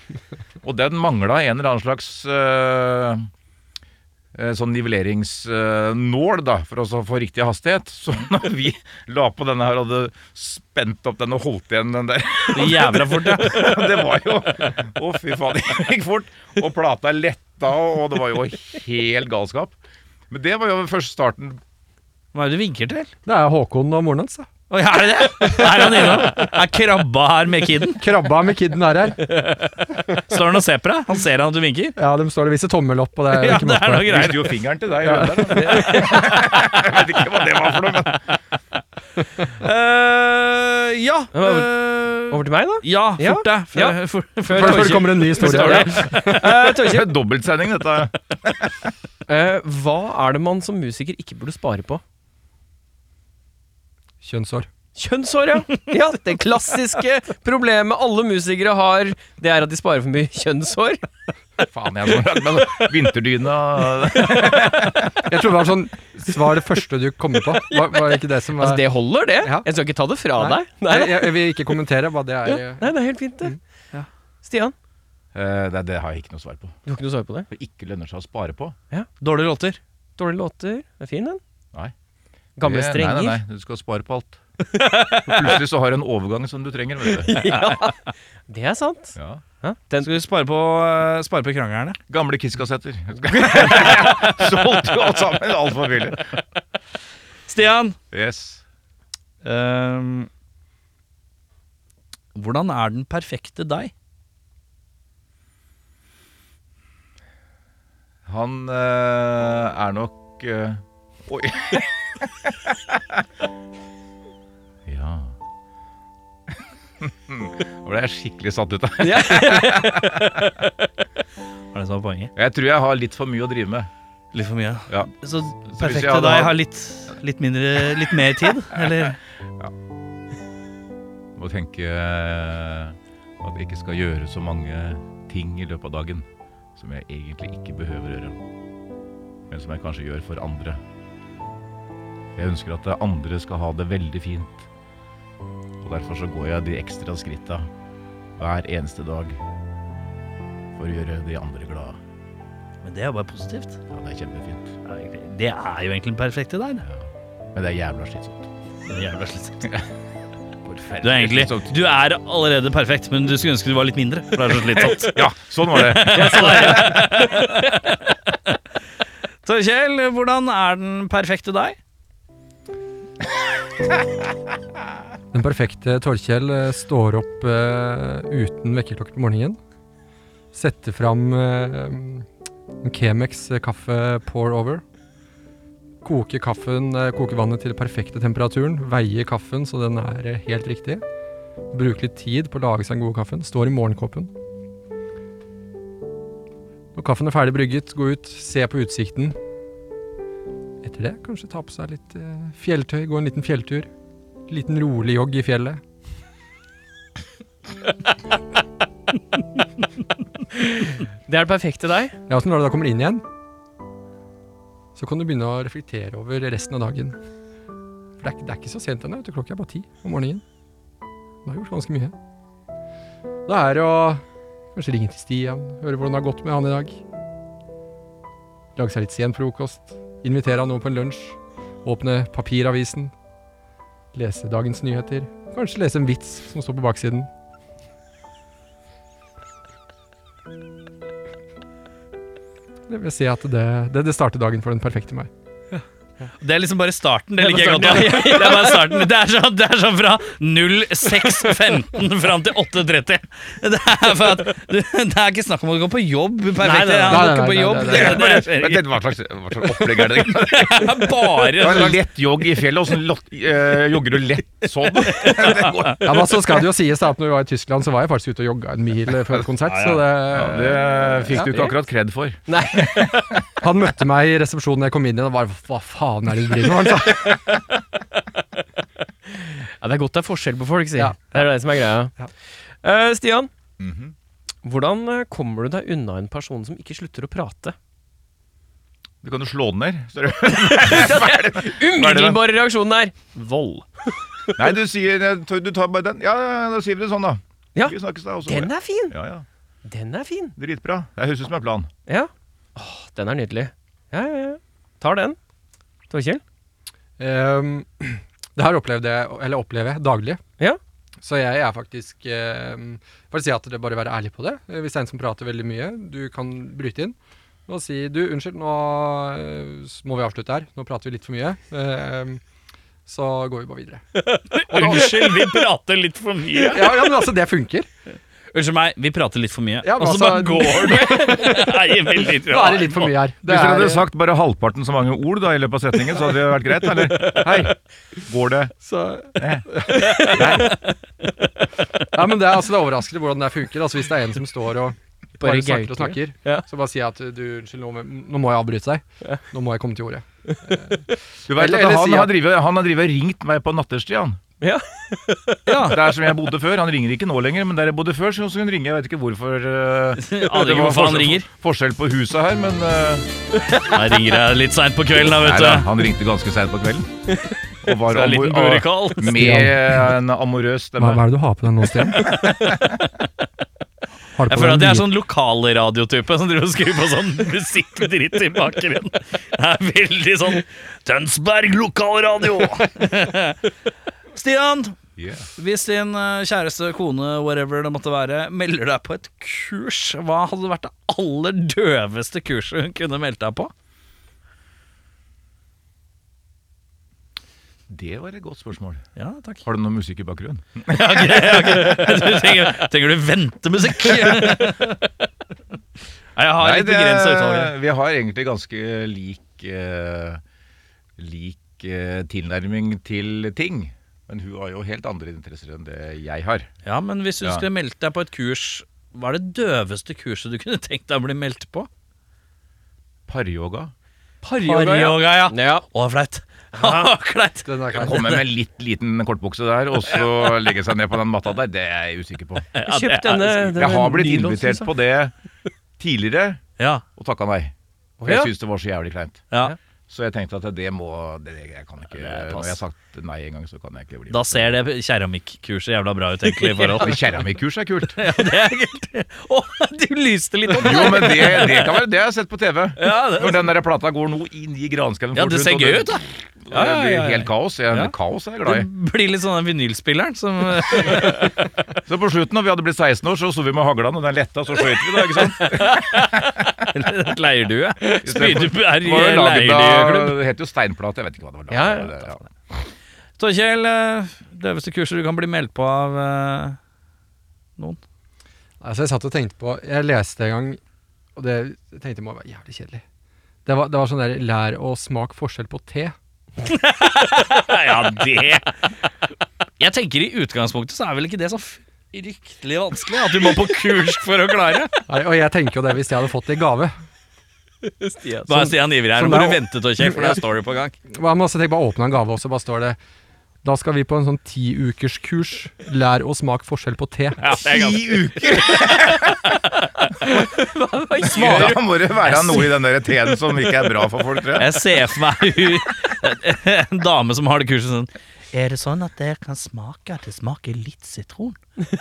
[SPEAKER 4] Og den mangla en eller annen slags eh, eh, sånn nivelleringsnål, da, for å så få riktig hastighet. Så når vi la på denne her og hadde spent opp den og holdt igjen den der
[SPEAKER 1] Det jævla fort, ja.
[SPEAKER 4] Det var jo Å, fy faen, det gikk fort. Og plata letta, og det var jo helt galskap. Men det var jo først starten.
[SPEAKER 1] Hva er det du vinker til?
[SPEAKER 3] Det er Håkon og moren hans. da.
[SPEAKER 1] Oi, er det det? Er han innom? Er krabba her med kiden?
[SPEAKER 3] Krabba med kidden er her.
[SPEAKER 1] Står han og ser på deg? Han ser han at du vinker?
[SPEAKER 3] Ja, de står og viser tommel opp, og det er
[SPEAKER 1] Ja,
[SPEAKER 3] ikke
[SPEAKER 1] det er
[SPEAKER 3] måte
[SPEAKER 1] noe
[SPEAKER 3] på.
[SPEAKER 1] greier.
[SPEAKER 4] Viste jo fingeren til deg. i øyet der, da. Jeg vet ikke hva det var for noe. Men.
[SPEAKER 1] Eh, ja. eh,
[SPEAKER 2] Over til meg, da.
[SPEAKER 1] ja,
[SPEAKER 2] Ja.
[SPEAKER 1] fort deg. Før,
[SPEAKER 2] Ja.
[SPEAKER 1] før,
[SPEAKER 3] Før, før det kommer en ny historie.
[SPEAKER 2] Forstår
[SPEAKER 4] Det er dobbeltsending, dette.
[SPEAKER 2] Eh, hva er det man som musiker ikke burde spare på?
[SPEAKER 3] Kjønnsår.
[SPEAKER 2] Kjønnshår, ja. ja! Det klassiske problemet alle musikere har, det er at de sparer for mye kjønnshår.
[SPEAKER 4] Faen, jeg må lage meg noe. Vinterdyna
[SPEAKER 3] Jeg tror det var sånn så var det første du kom på. Var, var det ikke det som var
[SPEAKER 2] Altså, det holder, det.
[SPEAKER 3] Ja.
[SPEAKER 2] Jeg skal ikke ta det fra
[SPEAKER 3] Nei.
[SPEAKER 2] deg. Nei,
[SPEAKER 3] Jeg, jeg vil ikke kommentere hva det er. eh,
[SPEAKER 2] Ja. Nei, det er helt fint, det.
[SPEAKER 1] Ja.
[SPEAKER 2] Stian,
[SPEAKER 4] Eh, Nei, det har jeg ikke noe svar på.
[SPEAKER 2] du har ikke noe svar på det?
[SPEAKER 4] Det ikke lønner seg å spare på.
[SPEAKER 1] Dårlige låter.
[SPEAKER 2] Dårlige låter? Det er fin, den.
[SPEAKER 4] Nei.
[SPEAKER 2] Gamle
[SPEAKER 4] Det-
[SPEAKER 2] strenger.
[SPEAKER 4] Nei, nei, nei, du skal spare på alt. For plutselig så har du en overgang som du trenger. Vet du.
[SPEAKER 2] Ja, det er sant.
[SPEAKER 4] Ja.
[SPEAKER 2] Ja, den,
[SPEAKER 1] Skal vi spare på, eh, spare på krangerne?
[SPEAKER 4] Gamle Kiss-kassetter. Solgte jo alt sammen altfor billig.
[SPEAKER 1] Stian!
[SPEAKER 4] Yes.
[SPEAKER 1] ehm, hvordan er den perfekte deg?
[SPEAKER 4] Han eh, er nok eh, Oi. ja Nå ble jeg skikkelig satt ut av.
[SPEAKER 1] Er det som er poenget?
[SPEAKER 4] Jeg tror jeg har litt for mye å drive med.
[SPEAKER 1] Litt for mye.
[SPEAKER 4] Ja.
[SPEAKER 1] Så
[SPEAKER 4] hvis jeg
[SPEAKER 1] perfekte
[SPEAKER 4] hadde
[SPEAKER 1] deg
[SPEAKER 4] hatt-
[SPEAKER 1] har litt, litt mindre Litt mer tid, eller?
[SPEAKER 4] Må tenke eh, at jeg ikke skal gjøre så mange ting i løpet av dagen som jeg egentlig ikke behøver å gjøre, men som jeg kanskje gjør for andre. Jeg ønsker at andre skal ha det veldig fint, og derfor så går jeg de ekstra skritta hver eneste dag for å gjøre de andre glade.
[SPEAKER 1] Men det er jo bare positivt.
[SPEAKER 4] Ja, det er kjempefint,
[SPEAKER 1] Det er jo egentlig den perfekte deg.
[SPEAKER 4] men det er jævla slitsomt.
[SPEAKER 1] Det er jævla slitsomt. Du er egentlig Du er allerede perfekt, men du skulle ønske du var litt mindre. For det er så slitsomt.
[SPEAKER 4] Ja, sånn var det.
[SPEAKER 1] Torkjell, hvordan er den perfekte deg?
[SPEAKER 3] Den perfekte Torkjell eh, står opp eh, uten vekkerklokke på morgenen. Setter fram eh, en Kemex kaffe pour over. Koker, kaffen, eh, koker vannet til perfekte temperaturen. Veier kaffen så den er eh, helt riktig. Bruker litt tid på å lage seg den gode kaffen. Står i morgenkåpen. Når kaffen er ferdig brygget, gå ut, se på utsikten. Etter det kanskje ta på seg litt eh, fjelltøy, gå en liten fjelltur. Liten rolig jogg i fjellet.
[SPEAKER 2] det er det perfekte deg.
[SPEAKER 3] Ja, så når du da kommer inn igjen, så kan du begynne å reflektere over resten av dagen. For det er, ikke- det er ikke så sent ennå. vet du, Klokka er bare ti om morgenen. Du har gjort ganske mye. Da er det å kanskje ringe til Stian, høre hvordan det har gått med han i dag. Lage seg litt sen frokost. Invitere han over på en lunsj. Åpne papiravisen. Lese dagens nyheter. Kanskje lese en vits som står på baksiden. Jeg vil si at det, det, det starter dagen for den perfekte meg.
[SPEAKER 1] Det er liksom bare starten. Det
[SPEAKER 2] Det er
[SPEAKER 1] liker jeg godt. da.
[SPEAKER 2] bare starten,
[SPEAKER 1] Det er bare starten. Det er sånn, det er sånn fra 06.15 fram til 8.30. Det er, for at, du, det er ikke snakk om å gå på jobb.
[SPEAKER 2] Nei,
[SPEAKER 1] Perfekt.
[SPEAKER 2] nei,
[SPEAKER 1] Han
[SPEAKER 3] nei,
[SPEAKER 1] går ikke
[SPEAKER 3] nei,
[SPEAKER 1] på
[SPEAKER 3] nei,
[SPEAKER 1] jobb.
[SPEAKER 3] nei, nei,
[SPEAKER 1] Det
[SPEAKER 4] Jeg
[SPEAKER 1] er
[SPEAKER 4] bare-
[SPEAKER 1] bare
[SPEAKER 4] Vent litt, hva slags, hva slags opplegg er det?
[SPEAKER 1] det er
[SPEAKER 4] Det var en
[SPEAKER 1] bare sånn-
[SPEAKER 4] lett jogg i fjellet, åssen jogger du lett sånn? Det går
[SPEAKER 3] Ja, men så skal det jo sies da at når vi var i Tyskland, så var jeg faktisk ute og jogga en mil eh, før konsert. Så det,
[SPEAKER 4] Ja, det fikk du ikke akkurat kred for.
[SPEAKER 2] Nei,
[SPEAKER 3] Han møtte meg i resepsjonen da jeg kom inn igjen og bare Hva faen er det du driver med? Han sa.
[SPEAKER 2] ja, Det er godt det er forskjell på folk, sier
[SPEAKER 3] Ja.
[SPEAKER 2] Det er det som er greia.
[SPEAKER 3] Ja.
[SPEAKER 2] Eh, Stian,
[SPEAKER 4] Mhm.
[SPEAKER 2] hvordan eh, kommer du deg unna en person som ikke slutter å prate?
[SPEAKER 4] Du kan jo slå den ned. ser du.
[SPEAKER 2] Umiddelbare reaksjonen er vold.
[SPEAKER 4] Nei, du sier Du tar bare den. Ja, ja, ja, da sier vi det sånn, da.
[SPEAKER 2] Ja.
[SPEAKER 4] Vi snakkes da. og så
[SPEAKER 2] Den
[SPEAKER 4] bare-
[SPEAKER 2] er fin!
[SPEAKER 4] Ja, ja.
[SPEAKER 2] Den er fin.
[SPEAKER 4] Dritbra. Det høres ut som en plan.
[SPEAKER 2] Ja. Åh, den er nydelig. Ja, ja, ja. Tar den. Torkjell?
[SPEAKER 3] Ehm, det her opplevde jeg, eller opplever jeg, daglig.
[SPEAKER 2] Ja.
[SPEAKER 3] Så jeg er faktisk ehm, Bare si at det bare være ærlig på det. Eh, Hvis det er en som prater veldig mye, du kan bryte inn og si Du, unnskyld, nå eh, s- må vi avslutte her. Nå prater vi litt for mye. Ehm, så går vi bare videre.
[SPEAKER 1] Unnskyld, vi prater litt for mye.
[SPEAKER 3] Ja, ja men altså, det funker.
[SPEAKER 1] Unnskyld meg, vi prater litt for mye.
[SPEAKER 3] Ja, men
[SPEAKER 1] og så bare
[SPEAKER 3] altså-
[SPEAKER 1] går du. Nei, jeg vil litt-
[SPEAKER 3] Nå er det litt for mye her. Det
[SPEAKER 4] Hvis dere
[SPEAKER 3] er,
[SPEAKER 4] hadde sagt bare halvparten så mange ord da i løpet av setningen, så hadde det vært greit, eller? Hei, går det?
[SPEAKER 3] så,
[SPEAKER 4] Eh.
[SPEAKER 3] ja, men det, er, altså, det er overraskende hvordan det her funker. Altså, hvis det er en som står og bare,
[SPEAKER 2] Bare
[SPEAKER 3] snakker og
[SPEAKER 2] gauker.
[SPEAKER 3] snakker,
[SPEAKER 2] Ja.
[SPEAKER 3] så bare si at du, unnskyld, nå, må- nå må jeg avbryte deg. Nå må jeg komme til ordet.
[SPEAKER 4] Du vet
[SPEAKER 3] Eller-
[SPEAKER 4] at
[SPEAKER 3] eller
[SPEAKER 4] han
[SPEAKER 3] si
[SPEAKER 4] har
[SPEAKER 3] at-
[SPEAKER 4] drivet- han har drivet og ringt meg på natterstid, han.
[SPEAKER 2] Ja.
[SPEAKER 4] Der som jeg bodde før. Han ringer ikke nå lenger, men der jeg bodde før, så kunne han ringe. Jeg vet ikke hvorfor. eh,
[SPEAKER 1] Aner ikke
[SPEAKER 4] var
[SPEAKER 1] hvorfor han
[SPEAKER 4] forskjell-
[SPEAKER 1] ringer.
[SPEAKER 4] Forskjell på huset her, men eh,
[SPEAKER 1] Jeg ringer deg litt seint på kvelden, da,
[SPEAKER 4] nei, da,
[SPEAKER 1] vet du.
[SPEAKER 4] han ringte ganske seint på kvelden. Og var
[SPEAKER 1] Så en liten
[SPEAKER 4] amor-
[SPEAKER 1] burekall.
[SPEAKER 4] med en amorøs stemme.
[SPEAKER 3] er det du har på deg nå, Stian?
[SPEAKER 1] Jeg føler at jeg er sånn lokalradiotype som driver og skrur på sånn musikkdritt i bakgrunnen. Det er veldig sånn Tønsberg lokalradio! Stian,
[SPEAKER 4] Yeah.
[SPEAKER 1] hvis din eh, kjæreste, kone, whatever det måtte være, melder deg på et kurs, hva hadde vært det aller døveste kurset hun kunne meldt deg på?
[SPEAKER 4] Det var et godt spørsmål.
[SPEAKER 1] Ja, takk.
[SPEAKER 4] Har du noe musikk i bakgrunnen?
[SPEAKER 1] Trenger, trenger du ventemusikk? Nei, jeg har et
[SPEAKER 4] det-
[SPEAKER 1] begrensa utvalg. her.
[SPEAKER 4] vi har egentlig ganske lik eh, lik eh, tilnærming til ting. Men hun har jo helt andre interesser enn det jeg har.
[SPEAKER 1] Ja, men hvis du
[SPEAKER 4] Ja.
[SPEAKER 1] skulle meldt deg på et kurs, hva er det døveste kurset du kunne tenkt deg å bli meldt på?
[SPEAKER 4] Paryoga.
[SPEAKER 1] Paryoga, ja.
[SPEAKER 2] ja.
[SPEAKER 1] Å, flaut. Å, kleit.
[SPEAKER 3] Den er klar.
[SPEAKER 4] Komme med en litt liten kortbukse der, og så legge seg ned på den matta der, det er jeg usikker på.
[SPEAKER 1] Ja, det
[SPEAKER 2] Kjøp
[SPEAKER 1] er-
[SPEAKER 2] denne.
[SPEAKER 4] Jeg har blitt invitert på det tidligere,
[SPEAKER 1] Ja,
[SPEAKER 4] og takka nei. For
[SPEAKER 2] Ja.
[SPEAKER 4] jeg syns det var så jævlig kleint.
[SPEAKER 1] ja.
[SPEAKER 4] Så jeg tenkte at det må det, Jeg kan ikke
[SPEAKER 1] er pass.
[SPEAKER 4] Når jeg har sagt nei en gang, så kan jeg ikke bli
[SPEAKER 1] Da ser det keramikkurset jævla bra ut, egentlig. i forhold.
[SPEAKER 4] Men Keramikkurs er kult.
[SPEAKER 1] Ja, det er helt... Å, du lyste litt opp.
[SPEAKER 4] Jo, men det, det kan være det jeg har sett på TV.
[SPEAKER 1] Ja, det-
[SPEAKER 4] Når den der plata går nå inn i granskauen.
[SPEAKER 1] Ja, det
[SPEAKER 4] fort
[SPEAKER 1] ser
[SPEAKER 4] og
[SPEAKER 1] gøy ut, da. Ja, ja,
[SPEAKER 4] Det
[SPEAKER 1] ja, ja.
[SPEAKER 4] blir helt kaos. Jeg,
[SPEAKER 1] Ja.
[SPEAKER 4] Kaos er jeg
[SPEAKER 1] Det
[SPEAKER 4] glad i.
[SPEAKER 1] blir litt sånn den vinylspilleren som
[SPEAKER 4] Så på slutten, når vi hadde blitt 16 år, så sto vi med hagla, og den letta, så skøyt vi, da. ikke sant?
[SPEAKER 1] leirdue. Spyr du er
[SPEAKER 4] Det
[SPEAKER 1] i
[SPEAKER 4] var jo laget
[SPEAKER 1] leirdueklubb.
[SPEAKER 4] av Det het jo steinplate, jeg vet ikke hva det var.
[SPEAKER 2] Ja, ja.
[SPEAKER 4] laget av, det-
[SPEAKER 1] Torkjell, eh, døveste kurset du kan bli meldt på av eh, noen?
[SPEAKER 3] Altså, jeg satt og tenkte på Jeg leste en gang, og det jeg tenkte jeg må være jævlig kjedelig. Det var, det var sånn der lær å smake forskjell på te.
[SPEAKER 1] Ja, det Jeg tenker i utgangspunktet så er vel ikke det så fryktelig vanskelig at du må på kurs for å klare.
[SPEAKER 3] Nei, og jeg tenker jo det hvis jeg hadde fått det i gave.
[SPEAKER 1] Nå er Stian ivrig her. Nå
[SPEAKER 3] som
[SPEAKER 1] må du
[SPEAKER 3] det er-
[SPEAKER 1] vente, Torkjell, for der står du på gang.
[SPEAKER 3] Hva med å bare åpne en gave, og så bare står det Da skal vi på en sånn tiukerskurs. Lær å smake forskjell på te.
[SPEAKER 4] Ti uker!
[SPEAKER 1] gjør
[SPEAKER 4] Da må det være noe i den der teen som ikke er bra for folk, tror jeg.
[SPEAKER 1] Jeg ser for meg hun- en dame som har det kurset sånn. Er det sånn at dere kan smake at det smaker litt sitron,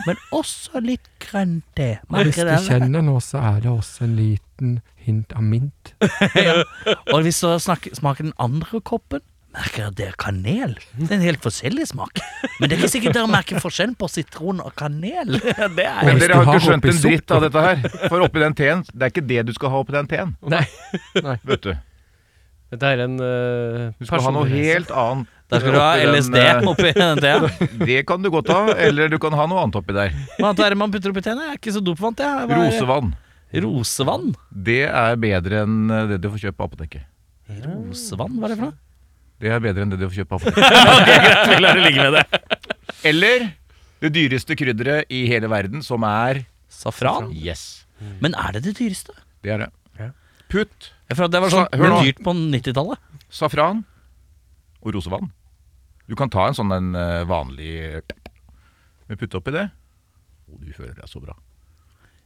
[SPEAKER 1] men også litt grønn te? Merker dere?
[SPEAKER 3] kjenner nå, så er det også en liten hint av mint.
[SPEAKER 1] Og hvis dere snakker, smaker den andre koppen, merker dere kanel? Det er en helt forskjellig smak. Men det er ikke sikkert dere merker forskjellen på sitron og kanel. Det er
[SPEAKER 4] Men
[SPEAKER 3] Hvis
[SPEAKER 4] dere
[SPEAKER 3] du
[SPEAKER 4] har
[SPEAKER 3] har
[SPEAKER 4] ikke skjønt
[SPEAKER 3] oppi
[SPEAKER 4] en dritt
[SPEAKER 3] sukker-
[SPEAKER 4] av dette her. For oppi den teen, det er ikke det du skal ha oppi den teen.
[SPEAKER 3] Nei.
[SPEAKER 4] Vet du.
[SPEAKER 2] Dette er en uh,
[SPEAKER 4] Du skal ha noe helt annet.
[SPEAKER 1] Der skal du ha
[SPEAKER 4] oppi den,
[SPEAKER 1] LSD oppi det.
[SPEAKER 4] eh, Det kan du godt ha, eller du kan ha noe annet oppi der.
[SPEAKER 1] Hva annet er det man putter oppi tennene? Jeg er ikke så dopvant, jeg. Hva er-
[SPEAKER 4] Rosevann.
[SPEAKER 1] Rosevann?
[SPEAKER 4] Det er bedre enn eh, det du får kjøpt på apoteket.
[SPEAKER 1] Rosevann, hva er det for noe?
[SPEAKER 4] Det er bedre enn det du får kjøpt på apoteket.
[SPEAKER 1] Jeg lar det ligge med det.
[SPEAKER 4] Eller det dyreste krydderet i hele verden, som er
[SPEAKER 1] Safran?
[SPEAKER 4] Yes.
[SPEAKER 1] Men er det det dyreste?
[SPEAKER 4] Det er det. Putt,
[SPEAKER 1] Jeg føler at det var sånn
[SPEAKER 4] Sa- hør nå.
[SPEAKER 1] dyrt på 90-tallet.
[SPEAKER 4] safran og rosevann. Du kan ta en sånn en eh, vanlig Men putte oppi det, og du føler deg så bra.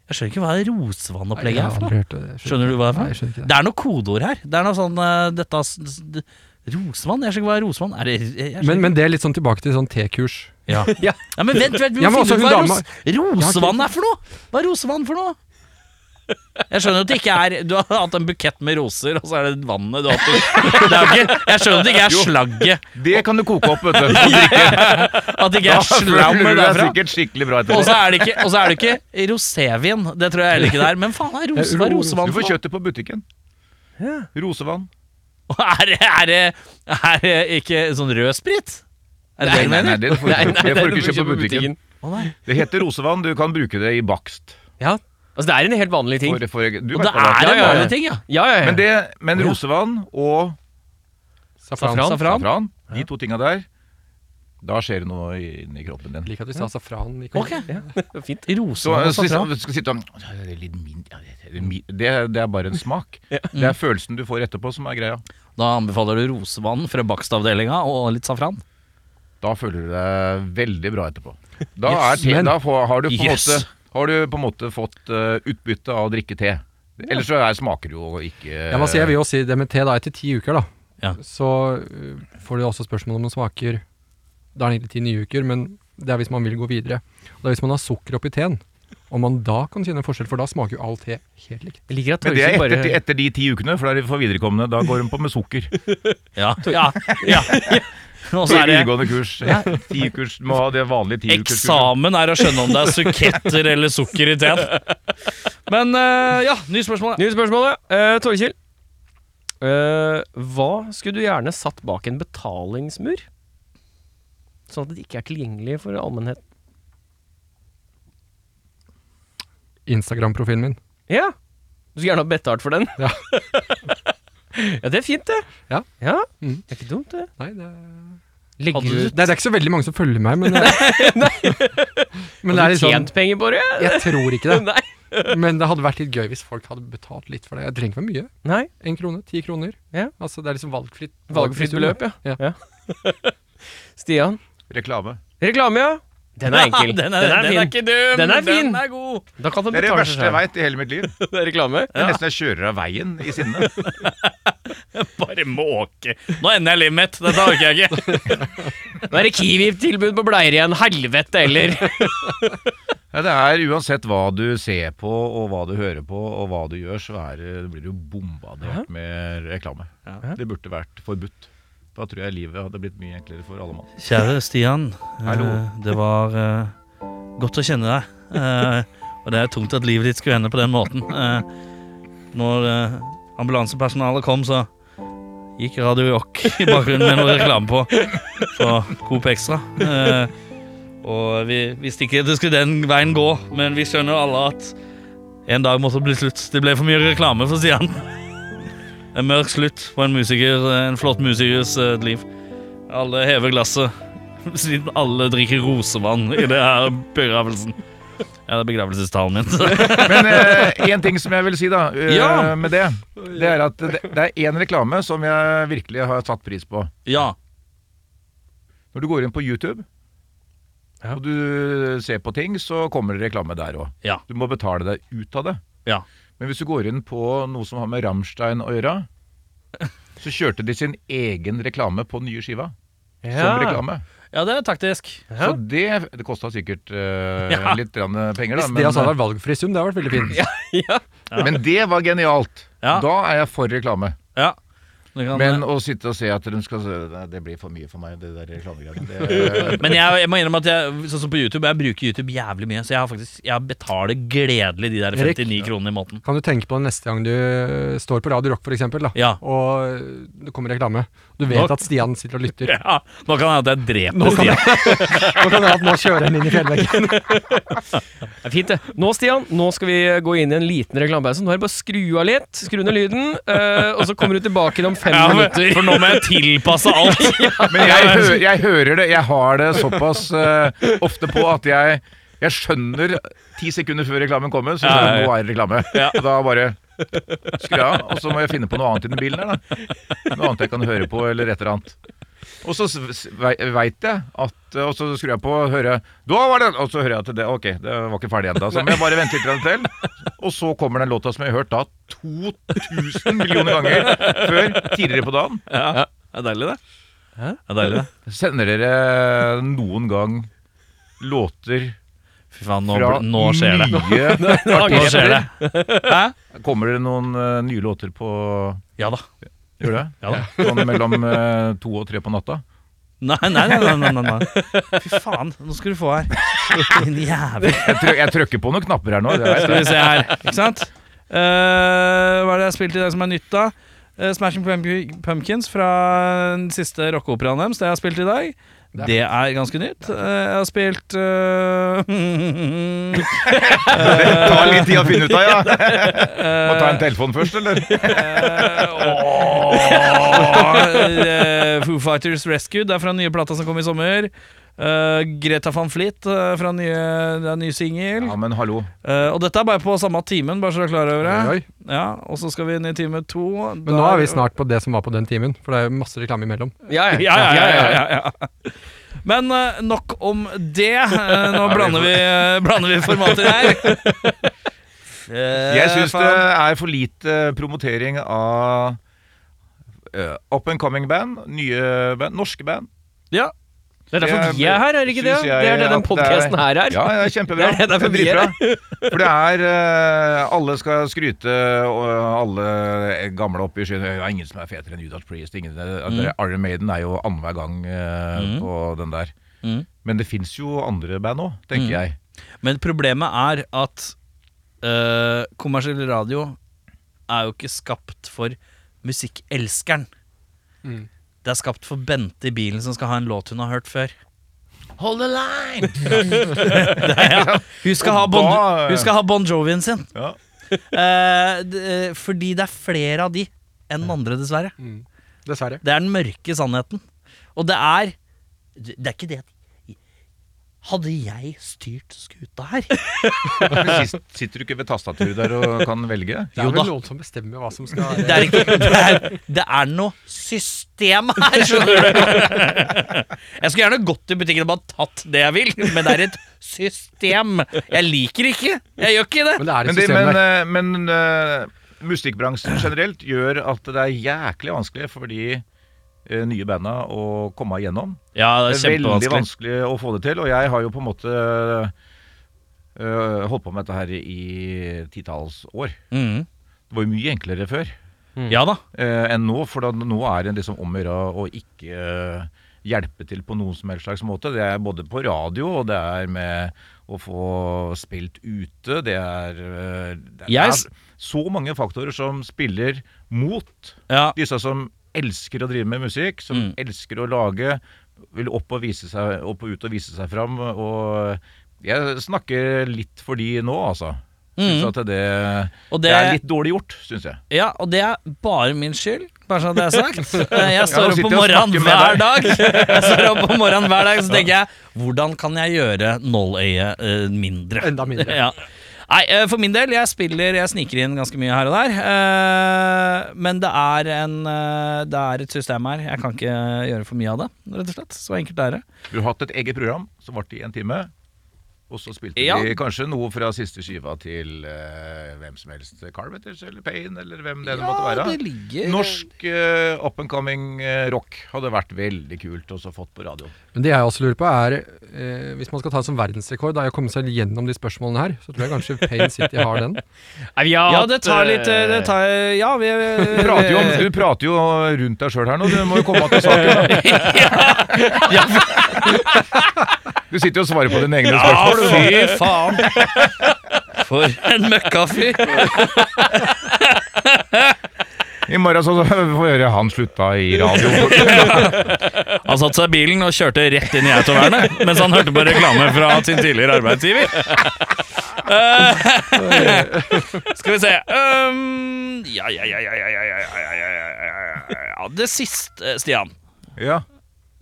[SPEAKER 1] Jeg skjønner ikke hva det rosevannopplegget er
[SPEAKER 3] Jeg har
[SPEAKER 1] for
[SPEAKER 3] aldri
[SPEAKER 1] noe.
[SPEAKER 3] hørt det. Jeg skjønner-
[SPEAKER 1] Skjønner du hva det
[SPEAKER 3] Nei,
[SPEAKER 1] er
[SPEAKER 3] jeg
[SPEAKER 1] for
[SPEAKER 3] skjønner
[SPEAKER 1] noe?
[SPEAKER 3] ikke det.
[SPEAKER 1] Det er noe kodeord her. Det er noe sånn eh, dette s- s- d- Rosevann? Jeg skjønner ikke hva rosevann er. Det, jeg, jeg
[SPEAKER 3] Men, men det er litt sånn tilbake til sånn T-kurs.
[SPEAKER 1] Ja. ja. men vent, vent, vi
[SPEAKER 3] Ja, men
[SPEAKER 1] må
[SPEAKER 3] også
[SPEAKER 1] finne ut
[SPEAKER 3] hun
[SPEAKER 1] hva
[SPEAKER 3] dama-
[SPEAKER 1] ros rosevann er for noe! Hva er rosevann for noe? Jeg skjønner at det ikke er Du har hatt en bukett med roser, og så er det vannet du har hatt i- Det er jo ikke- Jeg skjønner at det ikke er slagget.
[SPEAKER 4] Det kan du koke opp, vet du. Og drikke.
[SPEAKER 1] At det ikke
[SPEAKER 4] Da
[SPEAKER 1] er slammer
[SPEAKER 4] føler du deg
[SPEAKER 1] derfra.
[SPEAKER 4] sikkert skikkelig bra
[SPEAKER 1] Og
[SPEAKER 4] etter
[SPEAKER 1] så
[SPEAKER 4] det.
[SPEAKER 1] er det ikke, og så er det ikke rosévin. Det tror jeg heller ikke det er. Men faen, er rose, hva er rosevann
[SPEAKER 4] Du får
[SPEAKER 1] for noe?
[SPEAKER 4] kjøttet på butikken. Rosevann.
[SPEAKER 1] Er det, er, det, er det ikke sånn rød sprit? Er det det du mener?
[SPEAKER 4] det får du ikke- det får du ikke kjøpt på butikken.
[SPEAKER 1] Å, nei.
[SPEAKER 4] Det heter rosevann. Du kan bruke det i bakst.
[SPEAKER 2] Ja, altså det er en helt vanlig ting.
[SPEAKER 4] For, for, du
[SPEAKER 1] Og
[SPEAKER 4] vet
[SPEAKER 1] det
[SPEAKER 4] hva
[SPEAKER 1] er
[SPEAKER 2] Ja,
[SPEAKER 1] en
[SPEAKER 2] ja, ja.
[SPEAKER 1] vanlig ting, ja.
[SPEAKER 2] Ja, ja, ja.
[SPEAKER 4] Men, det, men rosevann og
[SPEAKER 3] Safran.
[SPEAKER 2] Safran.
[SPEAKER 1] Safran?
[SPEAKER 4] safran, de to tinga der, da skjer det noe inni kroppen din.
[SPEAKER 3] Liker at du sa safran. Nicolai.
[SPEAKER 1] Ok.
[SPEAKER 2] Fint.
[SPEAKER 4] Så,
[SPEAKER 1] Rosevann og
[SPEAKER 4] så,
[SPEAKER 1] safran.
[SPEAKER 4] du skal sitte og «Ja, det, er litt min, ja, det, er min, det, det er bare en smak. Det er følelsen du får etterpå som er greia.
[SPEAKER 1] Da anbefaler du rosevann fra bakstavdelinga og litt safran.
[SPEAKER 4] Da føler du deg veldig bra etterpå. Da,
[SPEAKER 1] Yes,
[SPEAKER 4] er te,
[SPEAKER 1] men-
[SPEAKER 4] da får, har, du på en
[SPEAKER 1] Yes.
[SPEAKER 4] måte, har du på en måte fått eh, utbytte av å drikke te. Ellers så er, smaker det jo ikke
[SPEAKER 3] Ja, men altså, jeg vil jo si det med te da etter ti uker, da.
[SPEAKER 1] Ja.
[SPEAKER 3] Så øh, får du også spørsmål om den smaker Da er den egentlig ti nye uker, men det er hvis man vil gå videre. Og det er hvis man har sukker oppi teen. Om man da kan kjenne en forskjell, for da smaker jo all te helt likt.
[SPEAKER 2] Jeg liker at
[SPEAKER 4] Men det
[SPEAKER 2] Torgeir
[SPEAKER 4] er
[SPEAKER 2] bare
[SPEAKER 4] etter, etter de ti ukene, for da er det for viderekomne. Da går de på med sukker.
[SPEAKER 1] Ja. ja, ja, Og så
[SPEAKER 4] Så
[SPEAKER 1] er det
[SPEAKER 4] videregående kurs. Ti ukers, du må ha det vanlige ti ukers kurset.
[SPEAKER 1] Eksamen er å skjønne om det er suketter eller sukker i teen. Men eh, ja, nye spørsmål. ja.
[SPEAKER 2] Nye spørsmål, ja. Eh, Torkjell. Eh, hva skulle du gjerne satt bak en betalingsmur? Sånn at det ikke er tilgjengelig for allmennheten.
[SPEAKER 3] Instagram-profilen min.
[SPEAKER 2] Ja. Du skulle gjerne ha betalt for den.
[SPEAKER 3] Ja.
[SPEAKER 2] ja, det er fint, det.
[SPEAKER 3] Ja. Mm.
[SPEAKER 2] Det er ikke dumt, det.
[SPEAKER 3] Nei, det,
[SPEAKER 2] Legger
[SPEAKER 1] Hadde
[SPEAKER 2] du
[SPEAKER 1] du
[SPEAKER 3] Nei, det er ikke så veldig mange som følger meg, men, men det er
[SPEAKER 2] Hadde du
[SPEAKER 3] litt sånn
[SPEAKER 2] tjent penger på det?
[SPEAKER 3] Jeg tror ikke det.
[SPEAKER 2] Nei.
[SPEAKER 3] Men det hadde vært litt gøy hvis folk hadde betalt litt for det. Jeg trenger ikke være mye.
[SPEAKER 2] Nei.
[SPEAKER 3] Én krone, ti kroner.
[SPEAKER 2] Ja.
[SPEAKER 3] Altså, det er liksom valgfritt.
[SPEAKER 2] Valgfritt beløp, ja. Ja. Stian.
[SPEAKER 4] Reklame.
[SPEAKER 2] Reklame, ja. Den er enkel.
[SPEAKER 1] Den er, den er
[SPEAKER 2] fin.
[SPEAKER 1] ikke dum.
[SPEAKER 2] Den er fin.
[SPEAKER 1] Den er god.
[SPEAKER 2] Da kan den
[SPEAKER 4] Det er det
[SPEAKER 2] betale
[SPEAKER 4] verste
[SPEAKER 2] seg
[SPEAKER 4] jeg
[SPEAKER 2] selv.
[SPEAKER 4] veit i hele mitt liv.
[SPEAKER 2] Det er reklame.
[SPEAKER 4] Det er nesten jeg kjører av veien i sinne.
[SPEAKER 1] Bare måke. Nå ender jeg livet mitt. Dette orker jeg ikke.
[SPEAKER 2] Nå er det Kiwi-tilbud på bleier igjen. Helvete heller.
[SPEAKER 4] Ja, det er uansett hva du ser på, og hva du hører på, og hva du gjør, så er det, blir du bombardert med reklame. Det burde vært forbudt. Da tror jeg livet hadde blitt mye enklere for alle mann.
[SPEAKER 1] Kjære Stian, eh,
[SPEAKER 4] Hallo.
[SPEAKER 1] det var eh, godt å kjenne deg. Eh, og det er tungt at livet ditt skulle ende på den måten. Eh, når eh, ambulansepersonalet kom, så gikk Radio Jock i bakgrunnen med noe reklame på fra Coop Extra. Eh, og vi visste ikke at det skulle den veien gå, men vi skjønner alle at en dag måtte det bli slutt. Det ble for mye reklame for Stian. En mørk slutt på en musiker, en flott musikers eh, liv. Alle hever glasset siden alle drikker rosevann i det her begravelsen. Ja, det er begravelsestalen min.
[SPEAKER 4] Men én ting som jeg vil si da, eh,
[SPEAKER 1] Ja.
[SPEAKER 4] med det, det er at det, det er én reklame som jeg virkelig har satt pris på.
[SPEAKER 1] ja.
[SPEAKER 4] Når du går inn på YouTube og du ser på ting, så kommer det reklame der òg.
[SPEAKER 1] Ja.
[SPEAKER 4] Du må betale deg ut av det.
[SPEAKER 1] Ja.
[SPEAKER 4] Men hvis du går inn på noe som har med Rammstein å gjøre, så kjørte de sin egen reklame på den nye skiva. Som reklame.
[SPEAKER 1] ja, det er taktisk.
[SPEAKER 4] Så det, det kosta sikkert eh,
[SPEAKER 1] Ja.
[SPEAKER 4] litt grann penger, da.
[SPEAKER 3] Hvis det
[SPEAKER 4] Men, eh,
[SPEAKER 3] altså hadde vært valgfri sum, det hadde vært veldig fint.
[SPEAKER 4] men det var genialt.
[SPEAKER 1] Ja.
[SPEAKER 4] Da er jeg for reklame.
[SPEAKER 1] Ja. Det kan-
[SPEAKER 4] Men å sitte og se at de skal Nei, Det blir for mye for meg, det der reklamegreiene. Det-
[SPEAKER 1] Men jeg, jeg må innrømme at jeg, sånn som på YouTube, jeg bruker YouTube jævlig mye. Så jeg har faktisk, jeg betaler gledelig de der
[SPEAKER 3] Erik.
[SPEAKER 1] 59 kronene i måneden.
[SPEAKER 3] Kan du tenke på det neste gang du øh, står på Radio Rock, for eksempel, da,
[SPEAKER 1] Ja.
[SPEAKER 3] og øh, det kommer reklame. Du vet
[SPEAKER 1] Nå-
[SPEAKER 3] at Stian sitter og lytter.
[SPEAKER 1] Ja, nå kan det hende at jeg dreper
[SPEAKER 3] Nå kan
[SPEAKER 1] Stian.
[SPEAKER 3] Nå kan det være at nå kjører han inn i fjellveggen.
[SPEAKER 2] Det er fint, det. Nå, Stian, nå skal vi gå inn i en liten reklamepause. Nå er det bare å skru av litt, skru ned lyden, eh, og så kommer du tilbake igjen om fem
[SPEAKER 1] Ja, men-
[SPEAKER 2] minutter.
[SPEAKER 1] for nå må jeg tilpasse alt.
[SPEAKER 4] Men jeg, hø jeg hører det. Jeg har det såpass eh, ofte på at jeg, jeg skjønner ti sekunder før reklamen kommer, så
[SPEAKER 1] Ja, ja,
[SPEAKER 4] skjønner jeg
[SPEAKER 1] ja.
[SPEAKER 4] nå er det reklame.
[SPEAKER 1] Ja.
[SPEAKER 4] Og Da bare skrur jeg av, og så må jeg finne på noe annet i den bilen her, da. Noe annet jeg kan høre på, eller et eller annet. Og så veit jeg at eh, Og så skrur jeg på og hører Da var det Og så hører jeg at det Ok, det var ikke ferdig ennå, så må jeg bare vente litt grann til. Og så kommer den låta som jeg har hørt da 2000 millioner ganger før, tidligere på dagen.
[SPEAKER 1] Ja, det er deilig, det. Det er deilig, det.
[SPEAKER 4] Sender dere noen gang låter
[SPEAKER 1] Fy faen, nå,
[SPEAKER 4] fra
[SPEAKER 1] bl- nå skjer det.
[SPEAKER 4] nye
[SPEAKER 1] Nå skjer det.
[SPEAKER 4] Kommer det noen eh, nye låter på
[SPEAKER 1] Ja da.
[SPEAKER 4] Gjør det?
[SPEAKER 1] Ja da.
[SPEAKER 4] Sånn mellom eh, to og tre på natta?
[SPEAKER 1] Nei, nei, nei, nei, nei, nei. Fy faen, nå skal du få her. Din jævel.
[SPEAKER 4] Jeg, trø jeg trykker på noen knapper her nå. Det vet
[SPEAKER 1] Skal vi
[SPEAKER 4] jeg.
[SPEAKER 1] se her, ikke sant? Eh, hva er det jeg har spilt i det som er nytt, da? Eh, Smashing Pump- Pumpkins fra den siste rockeoperaen deres, det jeg har spilt i dag.
[SPEAKER 3] Der.
[SPEAKER 1] Det er ganske nytt. Eh, jeg har spilt eh,
[SPEAKER 4] Det tar litt tid å finne ut av, ja. Må ta en telefon først, eller?
[SPEAKER 1] eh, Foo Fighters Rescue, det er fra den nye plata som kom i sommer. Eh, Greta van Flit eh, fra nye, det er en ny singel.
[SPEAKER 4] Ja, men hallo.
[SPEAKER 1] Eh, og dette er bare på samme timen, bare så du er klar over
[SPEAKER 3] Oi,
[SPEAKER 1] det.
[SPEAKER 3] oi.
[SPEAKER 1] Ja, og så skal vi inn i time to.
[SPEAKER 3] Men nå er vi snart på det som var på den timen, for det er jo masse reklame imellom.
[SPEAKER 2] Ja, ja,
[SPEAKER 1] Ja, ja, ja. ja, ja, ja. Men eh, nok om det. Eh, nå blander vi, eh, blander vi formater her. Eh,
[SPEAKER 4] Jeg syns det er for lite promotering av eh, up and coming band, nye band, norske band.
[SPEAKER 1] Ja.
[SPEAKER 2] Det er derfor vi er her, er det ikke det?
[SPEAKER 4] Synes
[SPEAKER 2] Det
[SPEAKER 4] jeg
[SPEAKER 2] er det den
[SPEAKER 4] at
[SPEAKER 2] podkasten her er.
[SPEAKER 4] Ja, det er kjempebra.
[SPEAKER 2] Det er det det er for mye.
[SPEAKER 4] dritbra. For det er eh, Alle skal skryte, og eh, alle gamle oppe i skyen Det er ingen som er fetere enn Judas Priest. Ingen,
[SPEAKER 2] Mm.
[SPEAKER 4] det- Iron Maiden er jo annenhver gang eh, på den der.
[SPEAKER 1] Mm.
[SPEAKER 4] Men det fins jo andre band òg,
[SPEAKER 2] Mm.
[SPEAKER 4] tenker jeg.
[SPEAKER 1] Men problemet er at eh, kommersiell radio er jo ikke skapt for musikkelskeren.
[SPEAKER 3] Mm.
[SPEAKER 1] Det er skapt for Bente i bilen som skal ha en låt hun har hørt før.
[SPEAKER 4] Hold the line!
[SPEAKER 1] Hun skal, ha
[SPEAKER 4] Og
[SPEAKER 1] bon,
[SPEAKER 4] da-
[SPEAKER 1] hun skal ha Bon Jovien sin.
[SPEAKER 4] Ja.
[SPEAKER 1] Eh, d- eh, fordi det er flere av de enn andre, dessverre.
[SPEAKER 4] Mm.
[SPEAKER 3] Dessverre.
[SPEAKER 1] Det er den mørke sannheten. Og det er Det er ikke det at Hadde jeg styrt skuta her
[SPEAKER 4] Men sist- Sitter du ikke ved tastaturet der og kan velge?
[SPEAKER 3] Det er
[SPEAKER 1] Jo da.
[SPEAKER 3] vel noen som bestemmer hva som skal
[SPEAKER 1] Det er, ikke, det er, det er noe system her, skjønner du. Jeg skulle gjerne gått i butikken og bare tatt det jeg vil, men det er et system. Jeg liker ikke. Jeg gjør ikke det.
[SPEAKER 3] Men det er et
[SPEAKER 4] Men, det,
[SPEAKER 3] system
[SPEAKER 4] men,
[SPEAKER 3] der.
[SPEAKER 4] eh, men eh, musikkbransjen generelt gjør at det er jæklig vanskelig for de eh, nye banda å komme igjennom.
[SPEAKER 1] Ja,
[SPEAKER 4] Det er veldig vanskelig å få det til, og jeg har jo på en måte øh, holdt på med dette her i titalls år.
[SPEAKER 1] Mhm.
[SPEAKER 4] Det var jo mye enklere før
[SPEAKER 1] Ja da.
[SPEAKER 4] eh, enn nå, for da, nå er det liksom om å gjøre å ikke eh, hjelpe til på noen som helst slags måte. Det er både på radio, og det er med å få spilt ute. Det er, eh, det er,
[SPEAKER 1] Jeg s-
[SPEAKER 4] det er så mange faktorer som spiller mot
[SPEAKER 1] Ja.
[SPEAKER 4] disse som elsker å drive med musikk, som
[SPEAKER 1] Mm.
[SPEAKER 4] elsker å lage, vil opp og, vise seg, opp og ut og vise seg fram. Og jeg snakker litt for de nå, altså. Syns
[SPEAKER 1] Mhm.
[SPEAKER 4] at det,
[SPEAKER 1] Og
[SPEAKER 4] det
[SPEAKER 1] det,
[SPEAKER 4] er litt dårlig gjort, syns jeg.
[SPEAKER 1] ja, og det er bare min skyld, bare sånn at det er sagt. Jeg står
[SPEAKER 4] nå
[SPEAKER 1] opp
[SPEAKER 4] sitter
[SPEAKER 1] om
[SPEAKER 4] jeg og
[SPEAKER 1] morgenen
[SPEAKER 4] snakker med
[SPEAKER 1] hver
[SPEAKER 4] deg.
[SPEAKER 1] dag. Jeg står opp om morgenen hver dag, så tenker jeg hvordan kan jeg gjøre nåløyet eh, mindre?
[SPEAKER 3] Enda mindre.
[SPEAKER 1] ja. Nei, eh, for min del, jeg spiller Jeg sniker inn ganske mye her og der. eh, Men det er, en, eh, det er et system her. Jeg kan ikke gjøre for mye av det, rett og slett. Så enkelt er det.
[SPEAKER 4] Skulle hatt et eget program som varte i en time. Og så spilte
[SPEAKER 2] Ja.
[SPEAKER 4] vi kanskje noe fra siste skiva til eh, hvem som helst. Carveters eller Payne eller hvem det, nå måtte være.
[SPEAKER 1] det ligger
[SPEAKER 4] Norsk eh, up and coming eh, rock hadde vært veldig kult også fått på radioen.
[SPEAKER 3] Men det jeg også lurer på er, eh, hvis man skal ta det som verdensrekord, da er å komme seg gjennom de spørsmålene her, så tror jeg kanskje Pain City har den.
[SPEAKER 2] Nei, vi har
[SPEAKER 1] Ja,
[SPEAKER 2] hatt,
[SPEAKER 1] det tar litt eh, det tar, Ja, vi
[SPEAKER 4] Du prater jo, om, du prater jo rundt deg sjøl her nå, du må jo komme til saken. da. Du sitter jo og svarer på dine egne spørsmål. du, da.
[SPEAKER 1] Fy faen! For en møkkafyr!
[SPEAKER 4] I morgen så så får vi høre han slutta i radio.
[SPEAKER 1] Han satte seg i bilen og kjørte rett inn i autovernet mens han hørte på reklame fra sin tidligere arbeidsgiver. Eh, skal vi se um, ja, ja, ja, ja, ja, ja, ja, ja, ja, ja, ja, ja, ja. Det siste, eh, Stian.
[SPEAKER 4] Ja.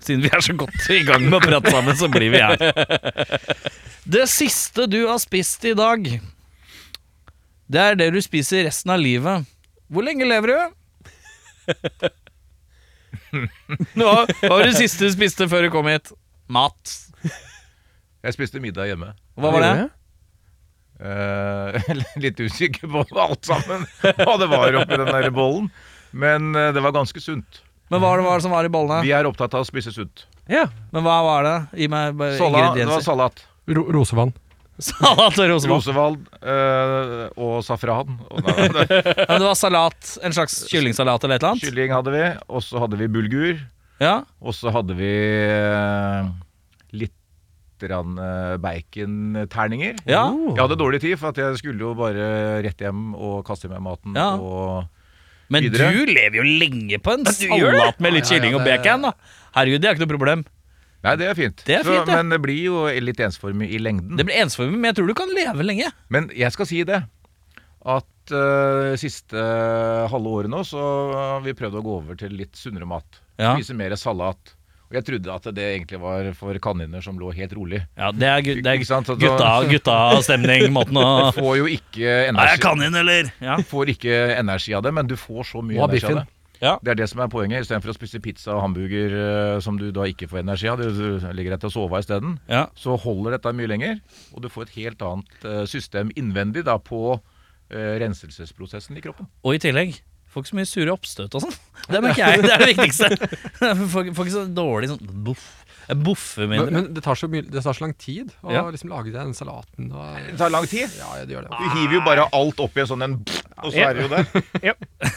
[SPEAKER 1] Siden vi er så godt i gang med å prate sammen, så blir vi her. Det siste du har spist i dag, det er det du spiser resten av livet. Hvor lenge lever du? Hva hva var det siste du spiste før du kom hit? Mat.
[SPEAKER 4] Jeg spiste middag hjemme.
[SPEAKER 1] Hva var det?
[SPEAKER 4] Eh, litt usikker på alt sammen, hva det var oppi den der bollen. Men eh, det var ganske sunt.
[SPEAKER 1] Men hva var det som var i bollene?
[SPEAKER 4] Vi er opptatt av å spise sunt.
[SPEAKER 2] Ja.
[SPEAKER 1] Men hva var det? Gi meg bare
[SPEAKER 4] Salat, det var
[SPEAKER 1] Eh, ingredienser.
[SPEAKER 4] salat.
[SPEAKER 3] Ro Rosevann.
[SPEAKER 1] Salat og rosemann.
[SPEAKER 4] Rosevald eh, og safran. Og nei, det-
[SPEAKER 1] Ja, det var salat, en slags kyllingsalat eller et eller annet?
[SPEAKER 4] Kylling hadde vi, og så hadde vi bulgur.
[SPEAKER 1] Ja.
[SPEAKER 4] Og så hadde vi eh, litt grann, eh, baconterninger.
[SPEAKER 1] ja.
[SPEAKER 4] Jeg hadde dårlig tid, for at jeg skulle jo bare rett hjem og kaste i meg maten.
[SPEAKER 1] Ja.
[SPEAKER 4] Og
[SPEAKER 1] Men
[SPEAKER 4] Videre.
[SPEAKER 1] du lever jo lenge på en
[SPEAKER 2] du gjør
[SPEAKER 1] salat med litt
[SPEAKER 3] Ja, ja,
[SPEAKER 1] kylling og
[SPEAKER 3] det-
[SPEAKER 1] bacon. da Herregud, det er ikke noe problem.
[SPEAKER 4] Nei, det er fint.
[SPEAKER 1] Det er fint,
[SPEAKER 4] så,
[SPEAKER 1] det.
[SPEAKER 4] men det blir jo litt ensformig i lengden.
[SPEAKER 1] Det blir ensformig, men jeg tror du kan leve lenge.
[SPEAKER 4] Men jeg skal si det at eh, siste halve året nå så har vi prøvd å gå over til litt sunnere mat.
[SPEAKER 1] Ja.
[SPEAKER 4] Spise mer salat. Og jeg trodde at det egentlig var for kaniner som lå helt rolig.
[SPEAKER 1] Ja, Det er, gu- det
[SPEAKER 4] Ikke
[SPEAKER 1] er
[SPEAKER 4] sant? Så da-
[SPEAKER 1] gutta- gutta-stemning, måten å
[SPEAKER 4] Får jo ikke
[SPEAKER 1] Nei, jeg er
[SPEAKER 4] energi,
[SPEAKER 1] kanin, eller? Ja.
[SPEAKER 4] får ikke energi av det, men du får så mye
[SPEAKER 3] Og av
[SPEAKER 4] energi av
[SPEAKER 3] biffen.
[SPEAKER 4] det.
[SPEAKER 1] Ja.
[SPEAKER 4] Det er det som er poenget. Istedenfor å spise pizza og hamburger eh, som du da ikke får energi av, du, du ligger etter å sove isteden,
[SPEAKER 1] Ja.
[SPEAKER 4] så holder dette mye lenger. Og du får et helt annet eh, system innvendig da på eh, renselsesprosessen i kroppen.
[SPEAKER 1] Og i tillegg får ikke så mye sure oppstøt og sånn. Det merker jeg. Det er det viktigste. Får, får ikke så dårlig sånn boff. Jeg boffer
[SPEAKER 3] Men,
[SPEAKER 1] mindre.
[SPEAKER 3] men det, tar så mye, det tar så lang tid å
[SPEAKER 1] Ja.
[SPEAKER 3] liksom lage den salaten. Og,
[SPEAKER 4] Det tar lang tid.
[SPEAKER 3] ja, ja, det gjør det.
[SPEAKER 4] Du hiver jo bare alt oppi en sånn en Og så er det jo der.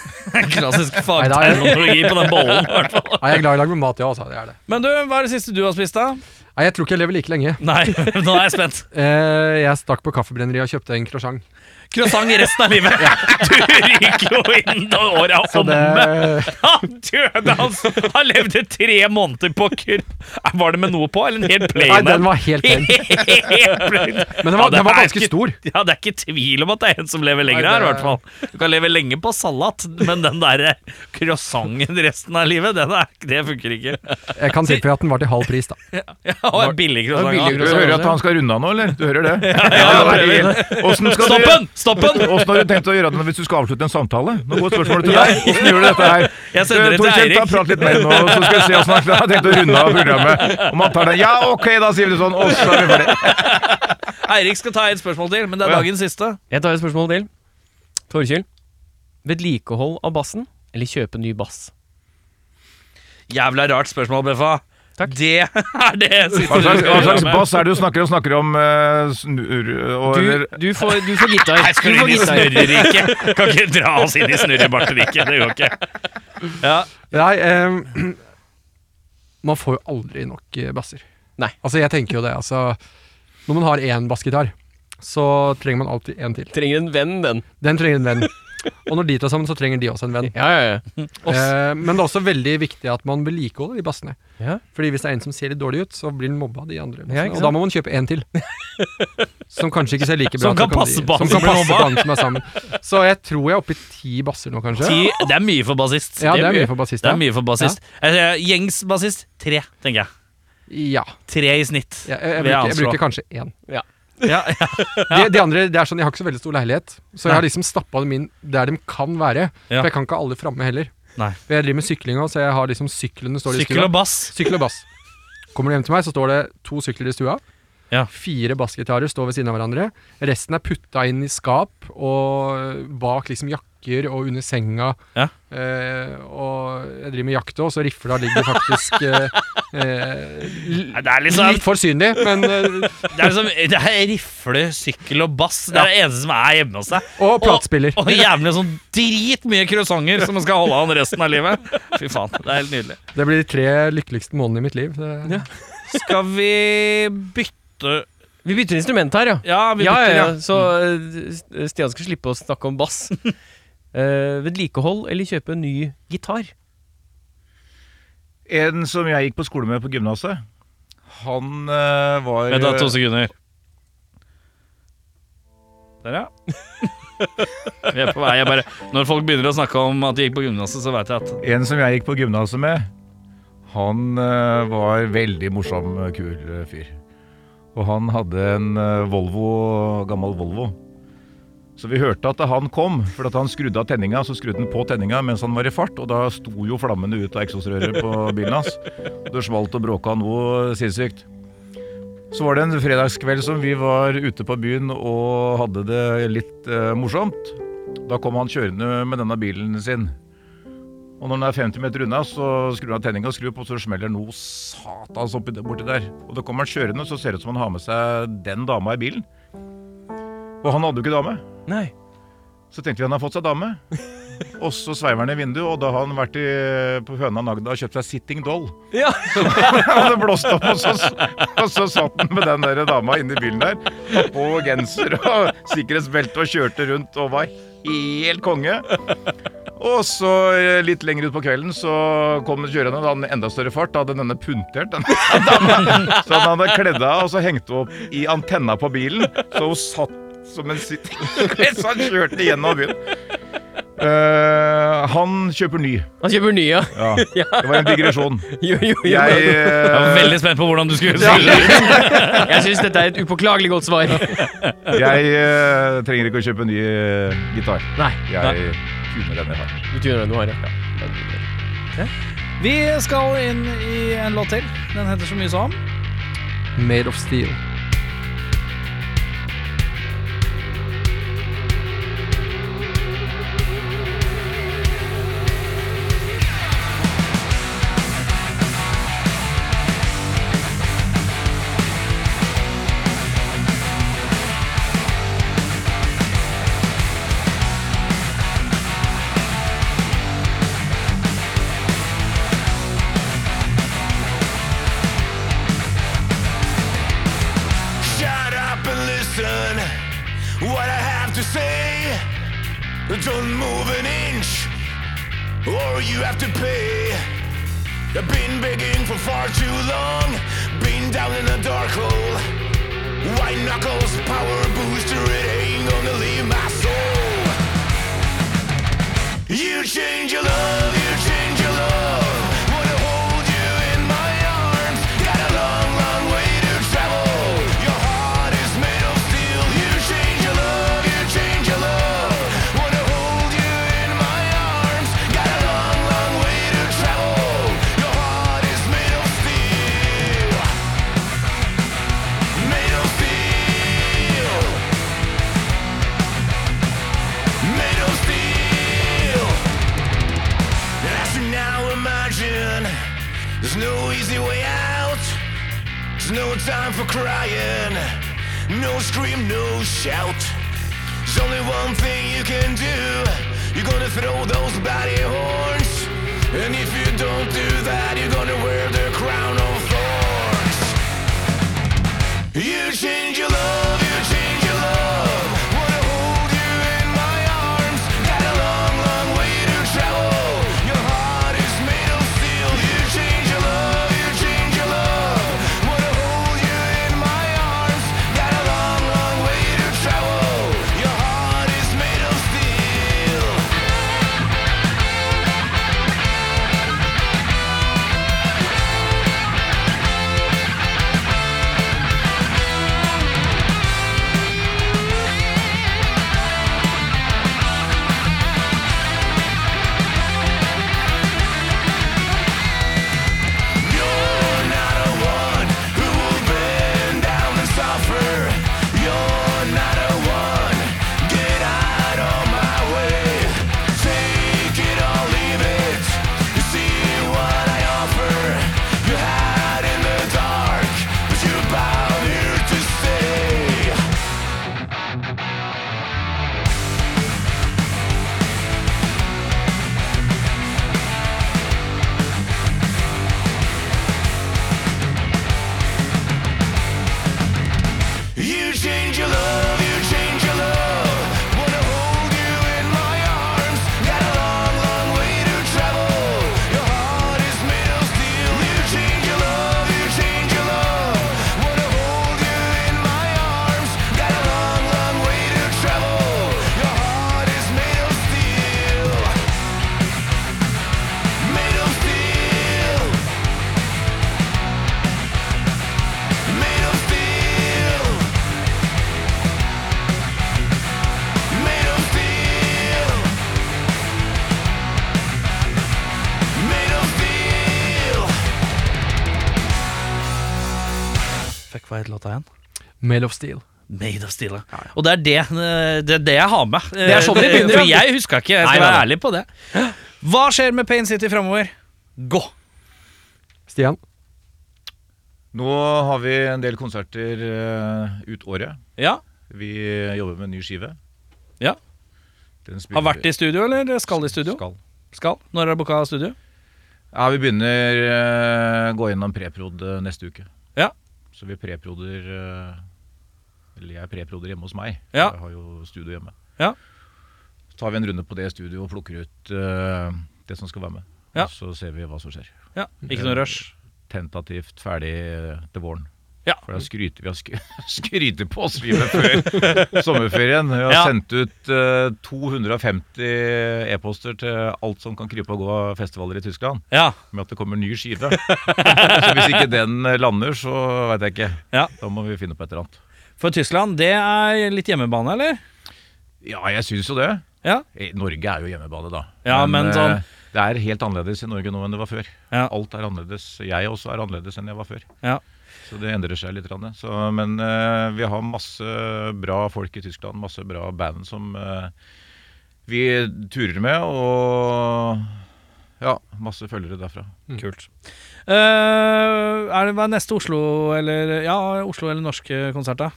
[SPEAKER 1] Klassisk
[SPEAKER 3] Nei, da er-
[SPEAKER 1] fagterminologi på den bollen. i hvert fall.
[SPEAKER 3] Nei, jeg er glad i lag med mat, ja, altså. Det er det.
[SPEAKER 1] Men du, hva er det siste du har spist, da?
[SPEAKER 3] Nei, jeg tror ikke jeg lever like lenge.
[SPEAKER 1] Nei, nå er jeg spent.
[SPEAKER 3] Eh, jeg stakk på kaffebrenneriet og kjøpte en croissant.
[SPEAKER 1] Croissant i resten av livet. Du gikk jo inn da året av
[SPEAKER 3] Så det,
[SPEAKER 1] omme. Han døde, hans! Han levde tre måneder på kurv. Var det med noe på, eller en helt plain
[SPEAKER 3] nei, den
[SPEAKER 1] en?
[SPEAKER 3] var helt pen.
[SPEAKER 1] Helt plain.
[SPEAKER 3] Men den
[SPEAKER 1] Ja,
[SPEAKER 3] var,
[SPEAKER 1] det
[SPEAKER 3] den var
[SPEAKER 1] er
[SPEAKER 3] ganske
[SPEAKER 1] ikke-
[SPEAKER 3] stor.
[SPEAKER 1] Ja, Det er ikke tvil om at det er en som lever lenger
[SPEAKER 3] Nei,
[SPEAKER 1] her. i
[SPEAKER 3] det-
[SPEAKER 1] hvert fall Du kan leve lenge på salat, men den der eh, croissanten resten av livet, den er, det funker ikke.
[SPEAKER 3] Jeg kan tilføye at den var til halv pris, da.
[SPEAKER 1] Ja, og en billig croissant.
[SPEAKER 3] billig
[SPEAKER 4] Du
[SPEAKER 1] ja.
[SPEAKER 3] croissant.
[SPEAKER 4] hører at han skal runde av nå, eller? Du hører det?
[SPEAKER 1] ja, jeg
[SPEAKER 4] Åssen skal
[SPEAKER 1] Stopp
[SPEAKER 4] du
[SPEAKER 1] den! Stopp den!
[SPEAKER 4] Åssen har du tenkt å gjøre det hvis du skal avslutte en samtale? Nå går spørsmålet til deg. Åssen gjør du dette her?
[SPEAKER 1] Jeg sender det til
[SPEAKER 4] Torkjell, ta
[SPEAKER 1] Eirik.
[SPEAKER 4] Prat litt mer nå, så skal vi se åssen han har tenkt å runde av programmet. Om han tar den. Ja, ok, da sier vi det sånn. Og så er vi ferdig.
[SPEAKER 1] Eirik skal ta et spørsmål til, men det er
[SPEAKER 4] Å, ja.
[SPEAKER 1] dagens siste.
[SPEAKER 2] Jeg tar et spørsmål til. Torkjell. Vedlikehold av bassen eller kjøpe ny bass?
[SPEAKER 1] Jævla rart spørsmål, Beffa. Det er det siste
[SPEAKER 4] Hva
[SPEAKER 1] du
[SPEAKER 4] slags, hva
[SPEAKER 1] skal
[SPEAKER 4] slags
[SPEAKER 1] gjøre.
[SPEAKER 4] bass er det du snakker og snakker om? eh, snur og
[SPEAKER 2] Du,
[SPEAKER 4] eller
[SPEAKER 2] du, får, du får gitar.
[SPEAKER 1] Nei, skal
[SPEAKER 2] Du
[SPEAKER 1] du
[SPEAKER 2] får
[SPEAKER 1] inn i
[SPEAKER 2] gitar.
[SPEAKER 1] snørreriket? Kan ikke dra oss inn i snørrebarteriket. Det går ikke.
[SPEAKER 3] Nei, ehm, man får jo aldri nok eh, basser.
[SPEAKER 2] Nei.
[SPEAKER 3] Altså, jeg tenker jo det, altså. Når man har én bassgitar, så trenger man alltid en til.
[SPEAKER 2] Trenger en venn, den.
[SPEAKER 3] Den trenger en venn. Og når de tar sammen, så trenger de også en venn.
[SPEAKER 2] Ja, ja, ja.
[SPEAKER 3] Eh, men det er også veldig viktig at man vedlikeholder de bassene.
[SPEAKER 2] Ja.
[SPEAKER 3] Fordi hvis det er en som ser litt dårlig ut, så blir den mobba av de
[SPEAKER 2] Ja,
[SPEAKER 3] andre. bassene.
[SPEAKER 2] ikke
[SPEAKER 3] og da må man kjøpe en til. Som kanskje ikke ser like
[SPEAKER 1] Som
[SPEAKER 3] bra ut.
[SPEAKER 1] kan
[SPEAKER 3] så
[SPEAKER 1] passe på han
[SPEAKER 3] som
[SPEAKER 1] som
[SPEAKER 3] kan
[SPEAKER 1] blir
[SPEAKER 3] passe på han som er sammen. Så jeg tror jeg er oppe i ti basser nå, kanskje.
[SPEAKER 1] Ti, det er mye for bassist.
[SPEAKER 3] Ja, det er mye for bassist.
[SPEAKER 1] Det er
[SPEAKER 3] Ja.
[SPEAKER 1] mye for bassist. Eh, Gjengs bassist tre, tenker jeg.
[SPEAKER 3] ja.
[SPEAKER 1] Tre i snitt.
[SPEAKER 3] Jeg, jeg, jeg,
[SPEAKER 1] vil
[SPEAKER 3] bruker, jeg
[SPEAKER 1] anslå.
[SPEAKER 3] bruker kanskje én.
[SPEAKER 1] Ja, ja.
[SPEAKER 3] De, de andre, det er sånn, Jeg har ikke så veldig stor leilighet, så jeg har liksom stappa dem inn der de kan være.
[SPEAKER 1] Ja.
[SPEAKER 3] For jeg kan ikke ha alle framme heller.
[SPEAKER 1] Nei.
[SPEAKER 3] For Jeg driver med sykling òg, så jeg har liksom syklene står i
[SPEAKER 1] Sykkel
[SPEAKER 3] stua.
[SPEAKER 1] og bass.
[SPEAKER 3] Sykkel og bass. Kommer du hjem til meg, så står det to sykler i stua.
[SPEAKER 1] Ja.
[SPEAKER 3] Fire bassgitarer står ved siden av hverandre. Resten er putta inn i skap og bak liksom jakker og under senga.
[SPEAKER 1] Ja.
[SPEAKER 3] Eh, og jeg driver med jakt òg, så rifla ligger faktisk eh, eh,
[SPEAKER 1] Nei, Det er liksom
[SPEAKER 3] litt for synlig, men eh,
[SPEAKER 1] Det er, liksom, det er rifle, sykkel og bass. Det er det eneste som er hjemme hos deg.
[SPEAKER 3] Og platespiller.
[SPEAKER 1] Og, og jævlig sånn dritmye croissanter som man skal holde an resten av livet. Fy faen, det er helt nydelig.
[SPEAKER 3] Det blir de tre lykkeligste månedene i mitt liv. Det,
[SPEAKER 1] Skal vi bytte
[SPEAKER 2] Vi bytter instrument her, ja.
[SPEAKER 1] Ja, vi
[SPEAKER 2] Ja,
[SPEAKER 1] bytter,
[SPEAKER 2] ja,
[SPEAKER 1] ja.
[SPEAKER 2] ja. Så eh, Stian skal slippe å snakke om bass. Eh, vedlikehold eller kjøpe en ny gitar?
[SPEAKER 4] En som jeg gikk på skole med på gymnaset, han eh, var
[SPEAKER 1] Vent da, to sekunder. Der, ja. Vi er på vei. Jeg bare, når folk begynner å snakke om at de gikk på gymnaset, så veit jeg at
[SPEAKER 4] En som jeg gikk på gymnaset med, han eh, var veldig morsom, kul eh, fyr. Og han hadde en eh, Volvo, gammel Volvo. Så vi hørte at han kom, for at han skrudde av tenninga, så skrudde han på tenninga mens han var i fart, og da sto jo flammene ut av eksosrøret på bilen hans. Det smalt og bråka noe sinnssykt. Så var det en fredagskveld som vi var ute på byen og hadde det litt eh, morsomt. Da kom han kjørende med denne bilen sin. Og når den er 50 meter unna, så skrur han av tenninga og skrur på, og så smeller det noe satans oppi der- borti der. Og da kommer han kjørende, så ser det ut som han har med seg den dama i bilen. Og han hadde jo ikke dame.
[SPEAKER 2] Nei.
[SPEAKER 4] Så tenkte vi han har fått seg dame. Og så sveiver han i vinduet, og da har han vært i, på Høna Nagda og kjøpt seg Sitting Doll.
[SPEAKER 2] Ja.
[SPEAKER 4] Han hadde blåst opp, og så, og så satt han med den der dama inni bilen der. Og på genser og sikkerhetsbelte og kjørte rundt og var helt konge. Og så eh, litt lenger ut på kvelden så kom den kjørende. Da hadde han enda større fart. Da hadde den punktert. Den, dama. så han hadde kledd av og så hengte opp i antenna på bilen. Så hun satt som en sitting. Så han kjørte gjennom byen. Eh, han kjøper ny.
[SPEAKER 2] Han kjøper ny, ja.
[SPEAKER 4] Ja. Det var en digresjon.
[SPEAKER 2] Jo, jo, jo.
[SPEAKER 4] Jeg
[SPEAKER 2] Jeg,
[SPEAKER 1] Jeg var
[SPEAKER 4] eh,
[SPEAKER 1] veldig spent på hvordan du skulle stille.
[SPEAKER 2] jeg syns dette er et upåklagelig godt svar.
[SPEAKER 4] Jeg eh, trenger ikke å kjøpe en ny eh, gitar.
[SPEAKER 2] Nei.
[SPEAKER 4] Jeg tuner den jeg har.
[SPEAKER 2] Du tuner den du har, ja.
[SPEAKER 1] Vi skal inn i en låt til. Den heter så mye som
[SPEAKER 3] Made of Steel.
[SPEAKER 5] Shut up and listen what I have to say. Don't move an inch or you have to pay. I've been begging for far too long, been down in a dark hole. White knuckles, power booster, it ain't gonna leave my soul. You change your love, you change your love. Wanna hold you in my arms. Got a long, long way to travel. Your heart is made of steel. You change your love, you change your love. Wanna hold you in my arms. Got a long, long way to travel. Your heart is made of steel. Made of steel. Made of steel. As you now imagine, there's no easy way out. There's no time for crying, no scream, no shout. There's only one thing you can do. You're gonna throw those bloody horns, and if you don't do that, you're gonna wear the crown of thorns. You change your love, you change your love. Wanna hold you in my arms. Got a long, long way to travel. Your heart is made of steel. You change your love, you change your love. Wanna hold you in my arms. Got a long, long way to travel. Your heart is made of steel.
[SPEAKER 1] Fuck, hva het låta igjen?
[SPEAKER 3] Mail of Steel.
[SPEAKER 1] Made of Steel. ja. Og det er det, eh, det, er det jeg har med. Eh,
[SPEAKER 2] er sånn det begynner,
[SPEAKER 1] For
[SPEAKER 2] ja.
[SPEAKER 1] jeg huska ikke. Jeg
[SPEAKER 2] Nei,
[SPEAKER 1] skal
[SPEAKER 2] nei,
[SPEAKER 1] være
[SPEAKER 2] nei.
[SPEAKER 1] ærlig på det. Hva skjer med Pain City framover? Gå!
[SPEAKER 3] Stian?
[SPEAKER 4] Nå har vi en del konserter eh, ut året.
[SPEAKER 1] Ja,
[SPEAKER 4] Vi jobber med en ny skive.
[SPEAKER 1] Ja.
[SPEAKER 4] Den spiller-
[SPEAKER 1] Har vært i studio, eller skal i studio?
[SPEAKER 4] Skal.
[SPEAKER 1] Skal. Når er det booka studio?
[SPEAKER 4] Ja, vi begynner eh, gå gjennom preprod eh, neste uke.
[SPEAKER 1] Ja.
[SPEAKER 4] Så vi preproder eh, Eller jeg preproder hjemme hos meg.
[SPEAKER 1] Ja.
[SPEAKER 4] Jeg har jo studio hjemme.
[SPEAKER 1] Ja.
[SPEAKER 4] Så tar vi en runde på det studioet og plukker ut eh, det som skal være med.
[SPEAKER 1] Ja.
[SPEAKER 4] Og så ser vi hva som skjer.
[SPEAKER 1] Ja, Ikke noe rush.
[SPEAKER 4] Tentativt ferdig eh, til våren.
[SPEAKER 1] Ja.
[SPEAKER 4] For da skryter vi av sk skryter på oss livet før sommerferien. Vi har
[SPEAKER 1] Ja.
[SPEAKER 4] sendt ut eh, 250 e-poster til alt som kan krype og gå av festivaler i Tyskland
[SPEAKER 1] Ja,
[SPEAKER 4] med at det kommer ny skive. så hvis ikke den lander, så veit jeg ikke.
[SPEAKER 1] Ja.
[SPEAKER 4] Da må vi finne på et eller annet.
[SPEAKER 1] For Tyskland, det er litt hjemmebane, eller?
[SPEAKER 4] Ja, jeg syns jo det.
[SPEAKER 1] Ja.
[SPEAKER 4] Eh, Norge er jo hjemmebane, da.
[SPEAKER 1] Ja, men sånn-
[SPEAKER 4] eh, Det er helt annerledes i Norge nå enn det var før.
[SPEAKER 1] Ja.
[SPEAKER 4] Alt er annerledes. Jeg også er annerledes enn jeg var før.
[SPEAKER 1] Ja.
[SPEAKER 4] Så det endrer seg litt. grann, Så, men eh, vi har masse bra folk i Tyskland, masse bra band som eh, vi turer med, og ja, masse følgere derfra.
[SPEAKER 1] Mm. Kult. Eh, er det hva er neste Oslo eller Ja, Oslo eller norske konsert, da?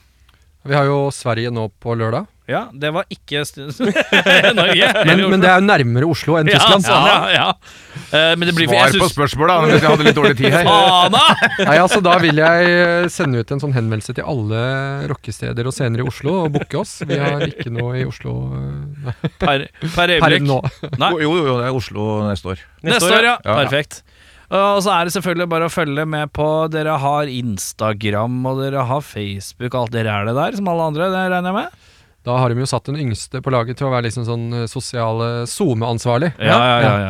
[SPEAKER 3] Vi har jo Sverige nå på lørdag.
[SPEAKER 1] Ja, det var ikke st- Norge.
[SPEAKER 3] Men, men det er jo nærmere Oslo enn Tyskland.
[SPEAKER 1] Ja, sånn, ja, ja. Eh, men det blir
[SPEAKER 4] Svar på spørsmål, da, hvis jeg hadde litt dårlig tid her.
[SPEAKER 1] Ana!
[SPEAKER 3] Nei, altså Da vil jeg eh, sende ut en sånn henvendelse til alle rockesteder og scener i Oslo og booke oss. Vi har ikke noe i Oslo eh, nei,
[SPEAKER 1] Per, per
[SPEAKER 3] per
[SPEAKER 1] øyeblikk.
[SPEAKER 3] nå.
[SPEAKER 1] Nei.
[SPEAKER 4] Jo, jo, jo, det er Oslo neste år.
[SPEAKER 1] Neste år, ja.
[SPEAKER 4] Ja.
[SPEAKER 1] Perfekt. Og så er det selvfølgelig bare å følge med på Dere har Instagram og dere har Facebook og alt. Dere er det der, som alle andre, det regner jeg med?
[SPEAKER 3] Da har de jo satt den yngste på laget til å være liksom sånn eh, sosiale SoMe-ansvarlig.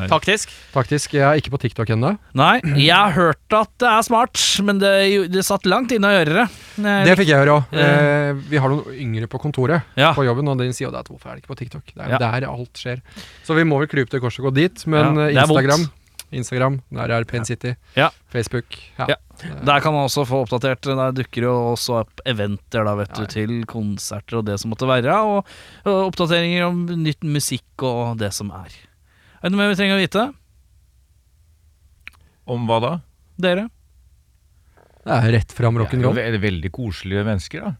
[SPEAKER 2] Taktisk.
[SPEAKER 3] Faktisk, jeg er ikke på TikTok ennå.
[SPEAKER 1] Nei, jeg har hørt at det er smart, men det, det satt langt inne å gjøre det. Eh,
[SPEAKER 3] Det fikk jeg høre òg. Eh, vi har noen yngre på kontoret
[SPEAKER 1] Ja.
[SPEAKER 3] på jobben, og de sier at hvorfor er det ikke på TikTok? Det er
[SPEAKER 1] Ah. Ja.
[SPEAKER 3] der alt skjer. Så vi må vel krype til korset og gå dit, men
[SPEAKER 1] Ja,
[SPEAKER 3] eh,
[SPEAKER 1] det er vondt.
[SPEAKER 3] Instagram Instagram, der er Pain City.
[SPEAKER 1] Ja.
[SPEAKER 3] Facebook. Ja.
[SPEAKER 1] Ja. Der kan man også få oppdatert. Der dukker jo også opp eventer da, vet
[SPEAKER 3] Ja, ja.
[SPEAKER 1] du, til konserter og det som måtte være. Og, og oppdateringer om nytt musikk og det som er. Er det noe mer vi trenger å vite?
[SPEAKER 4] Om hva da?
[SPEAKER 1] Dere?
[SPEAKER 3] Det er rett fram
[SPEAKER 4] Ja,
[SPEAKER 3] rock'n'roll.
[SPEAKER 4] ve- det er veldig koselige mennesker, da.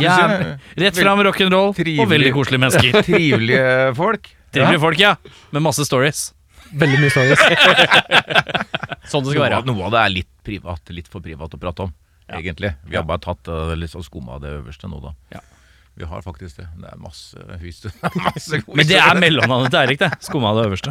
[SPEAKER 1] Ja, Rett fram rock'n'roll og
[SPEAKER 4] Trivelig.
[SPEAKER 1] veldig koselige mennesker.
[SPEAKER 4] Trivelige folk.
[SPEAKER 1] Trivelige folk, ja. Med masse stories.
[SPEAKER 3] Veldig mye stories.
[SPEAKER 2] Sånn det skal
[SPEAKER 4] Noe,
[SPEAKER 2] være.
[SPEAKER 4] av- noe av det er litt privat, litt for privat å prate om, egentlig. Vi har bare tatt eh, litt sånn skumma av det øverste nå, da.
[SPEAKER 1] Ja.
[SPEAKER 4] Vi har faktisk det. Det er masse hys. det er masse gode
[SPEAKER 1] Men det
[SPEAKER 4] historier.
[SPEAKER 1] er mellomnavnet til Eirik, det. Skumma av det øverste.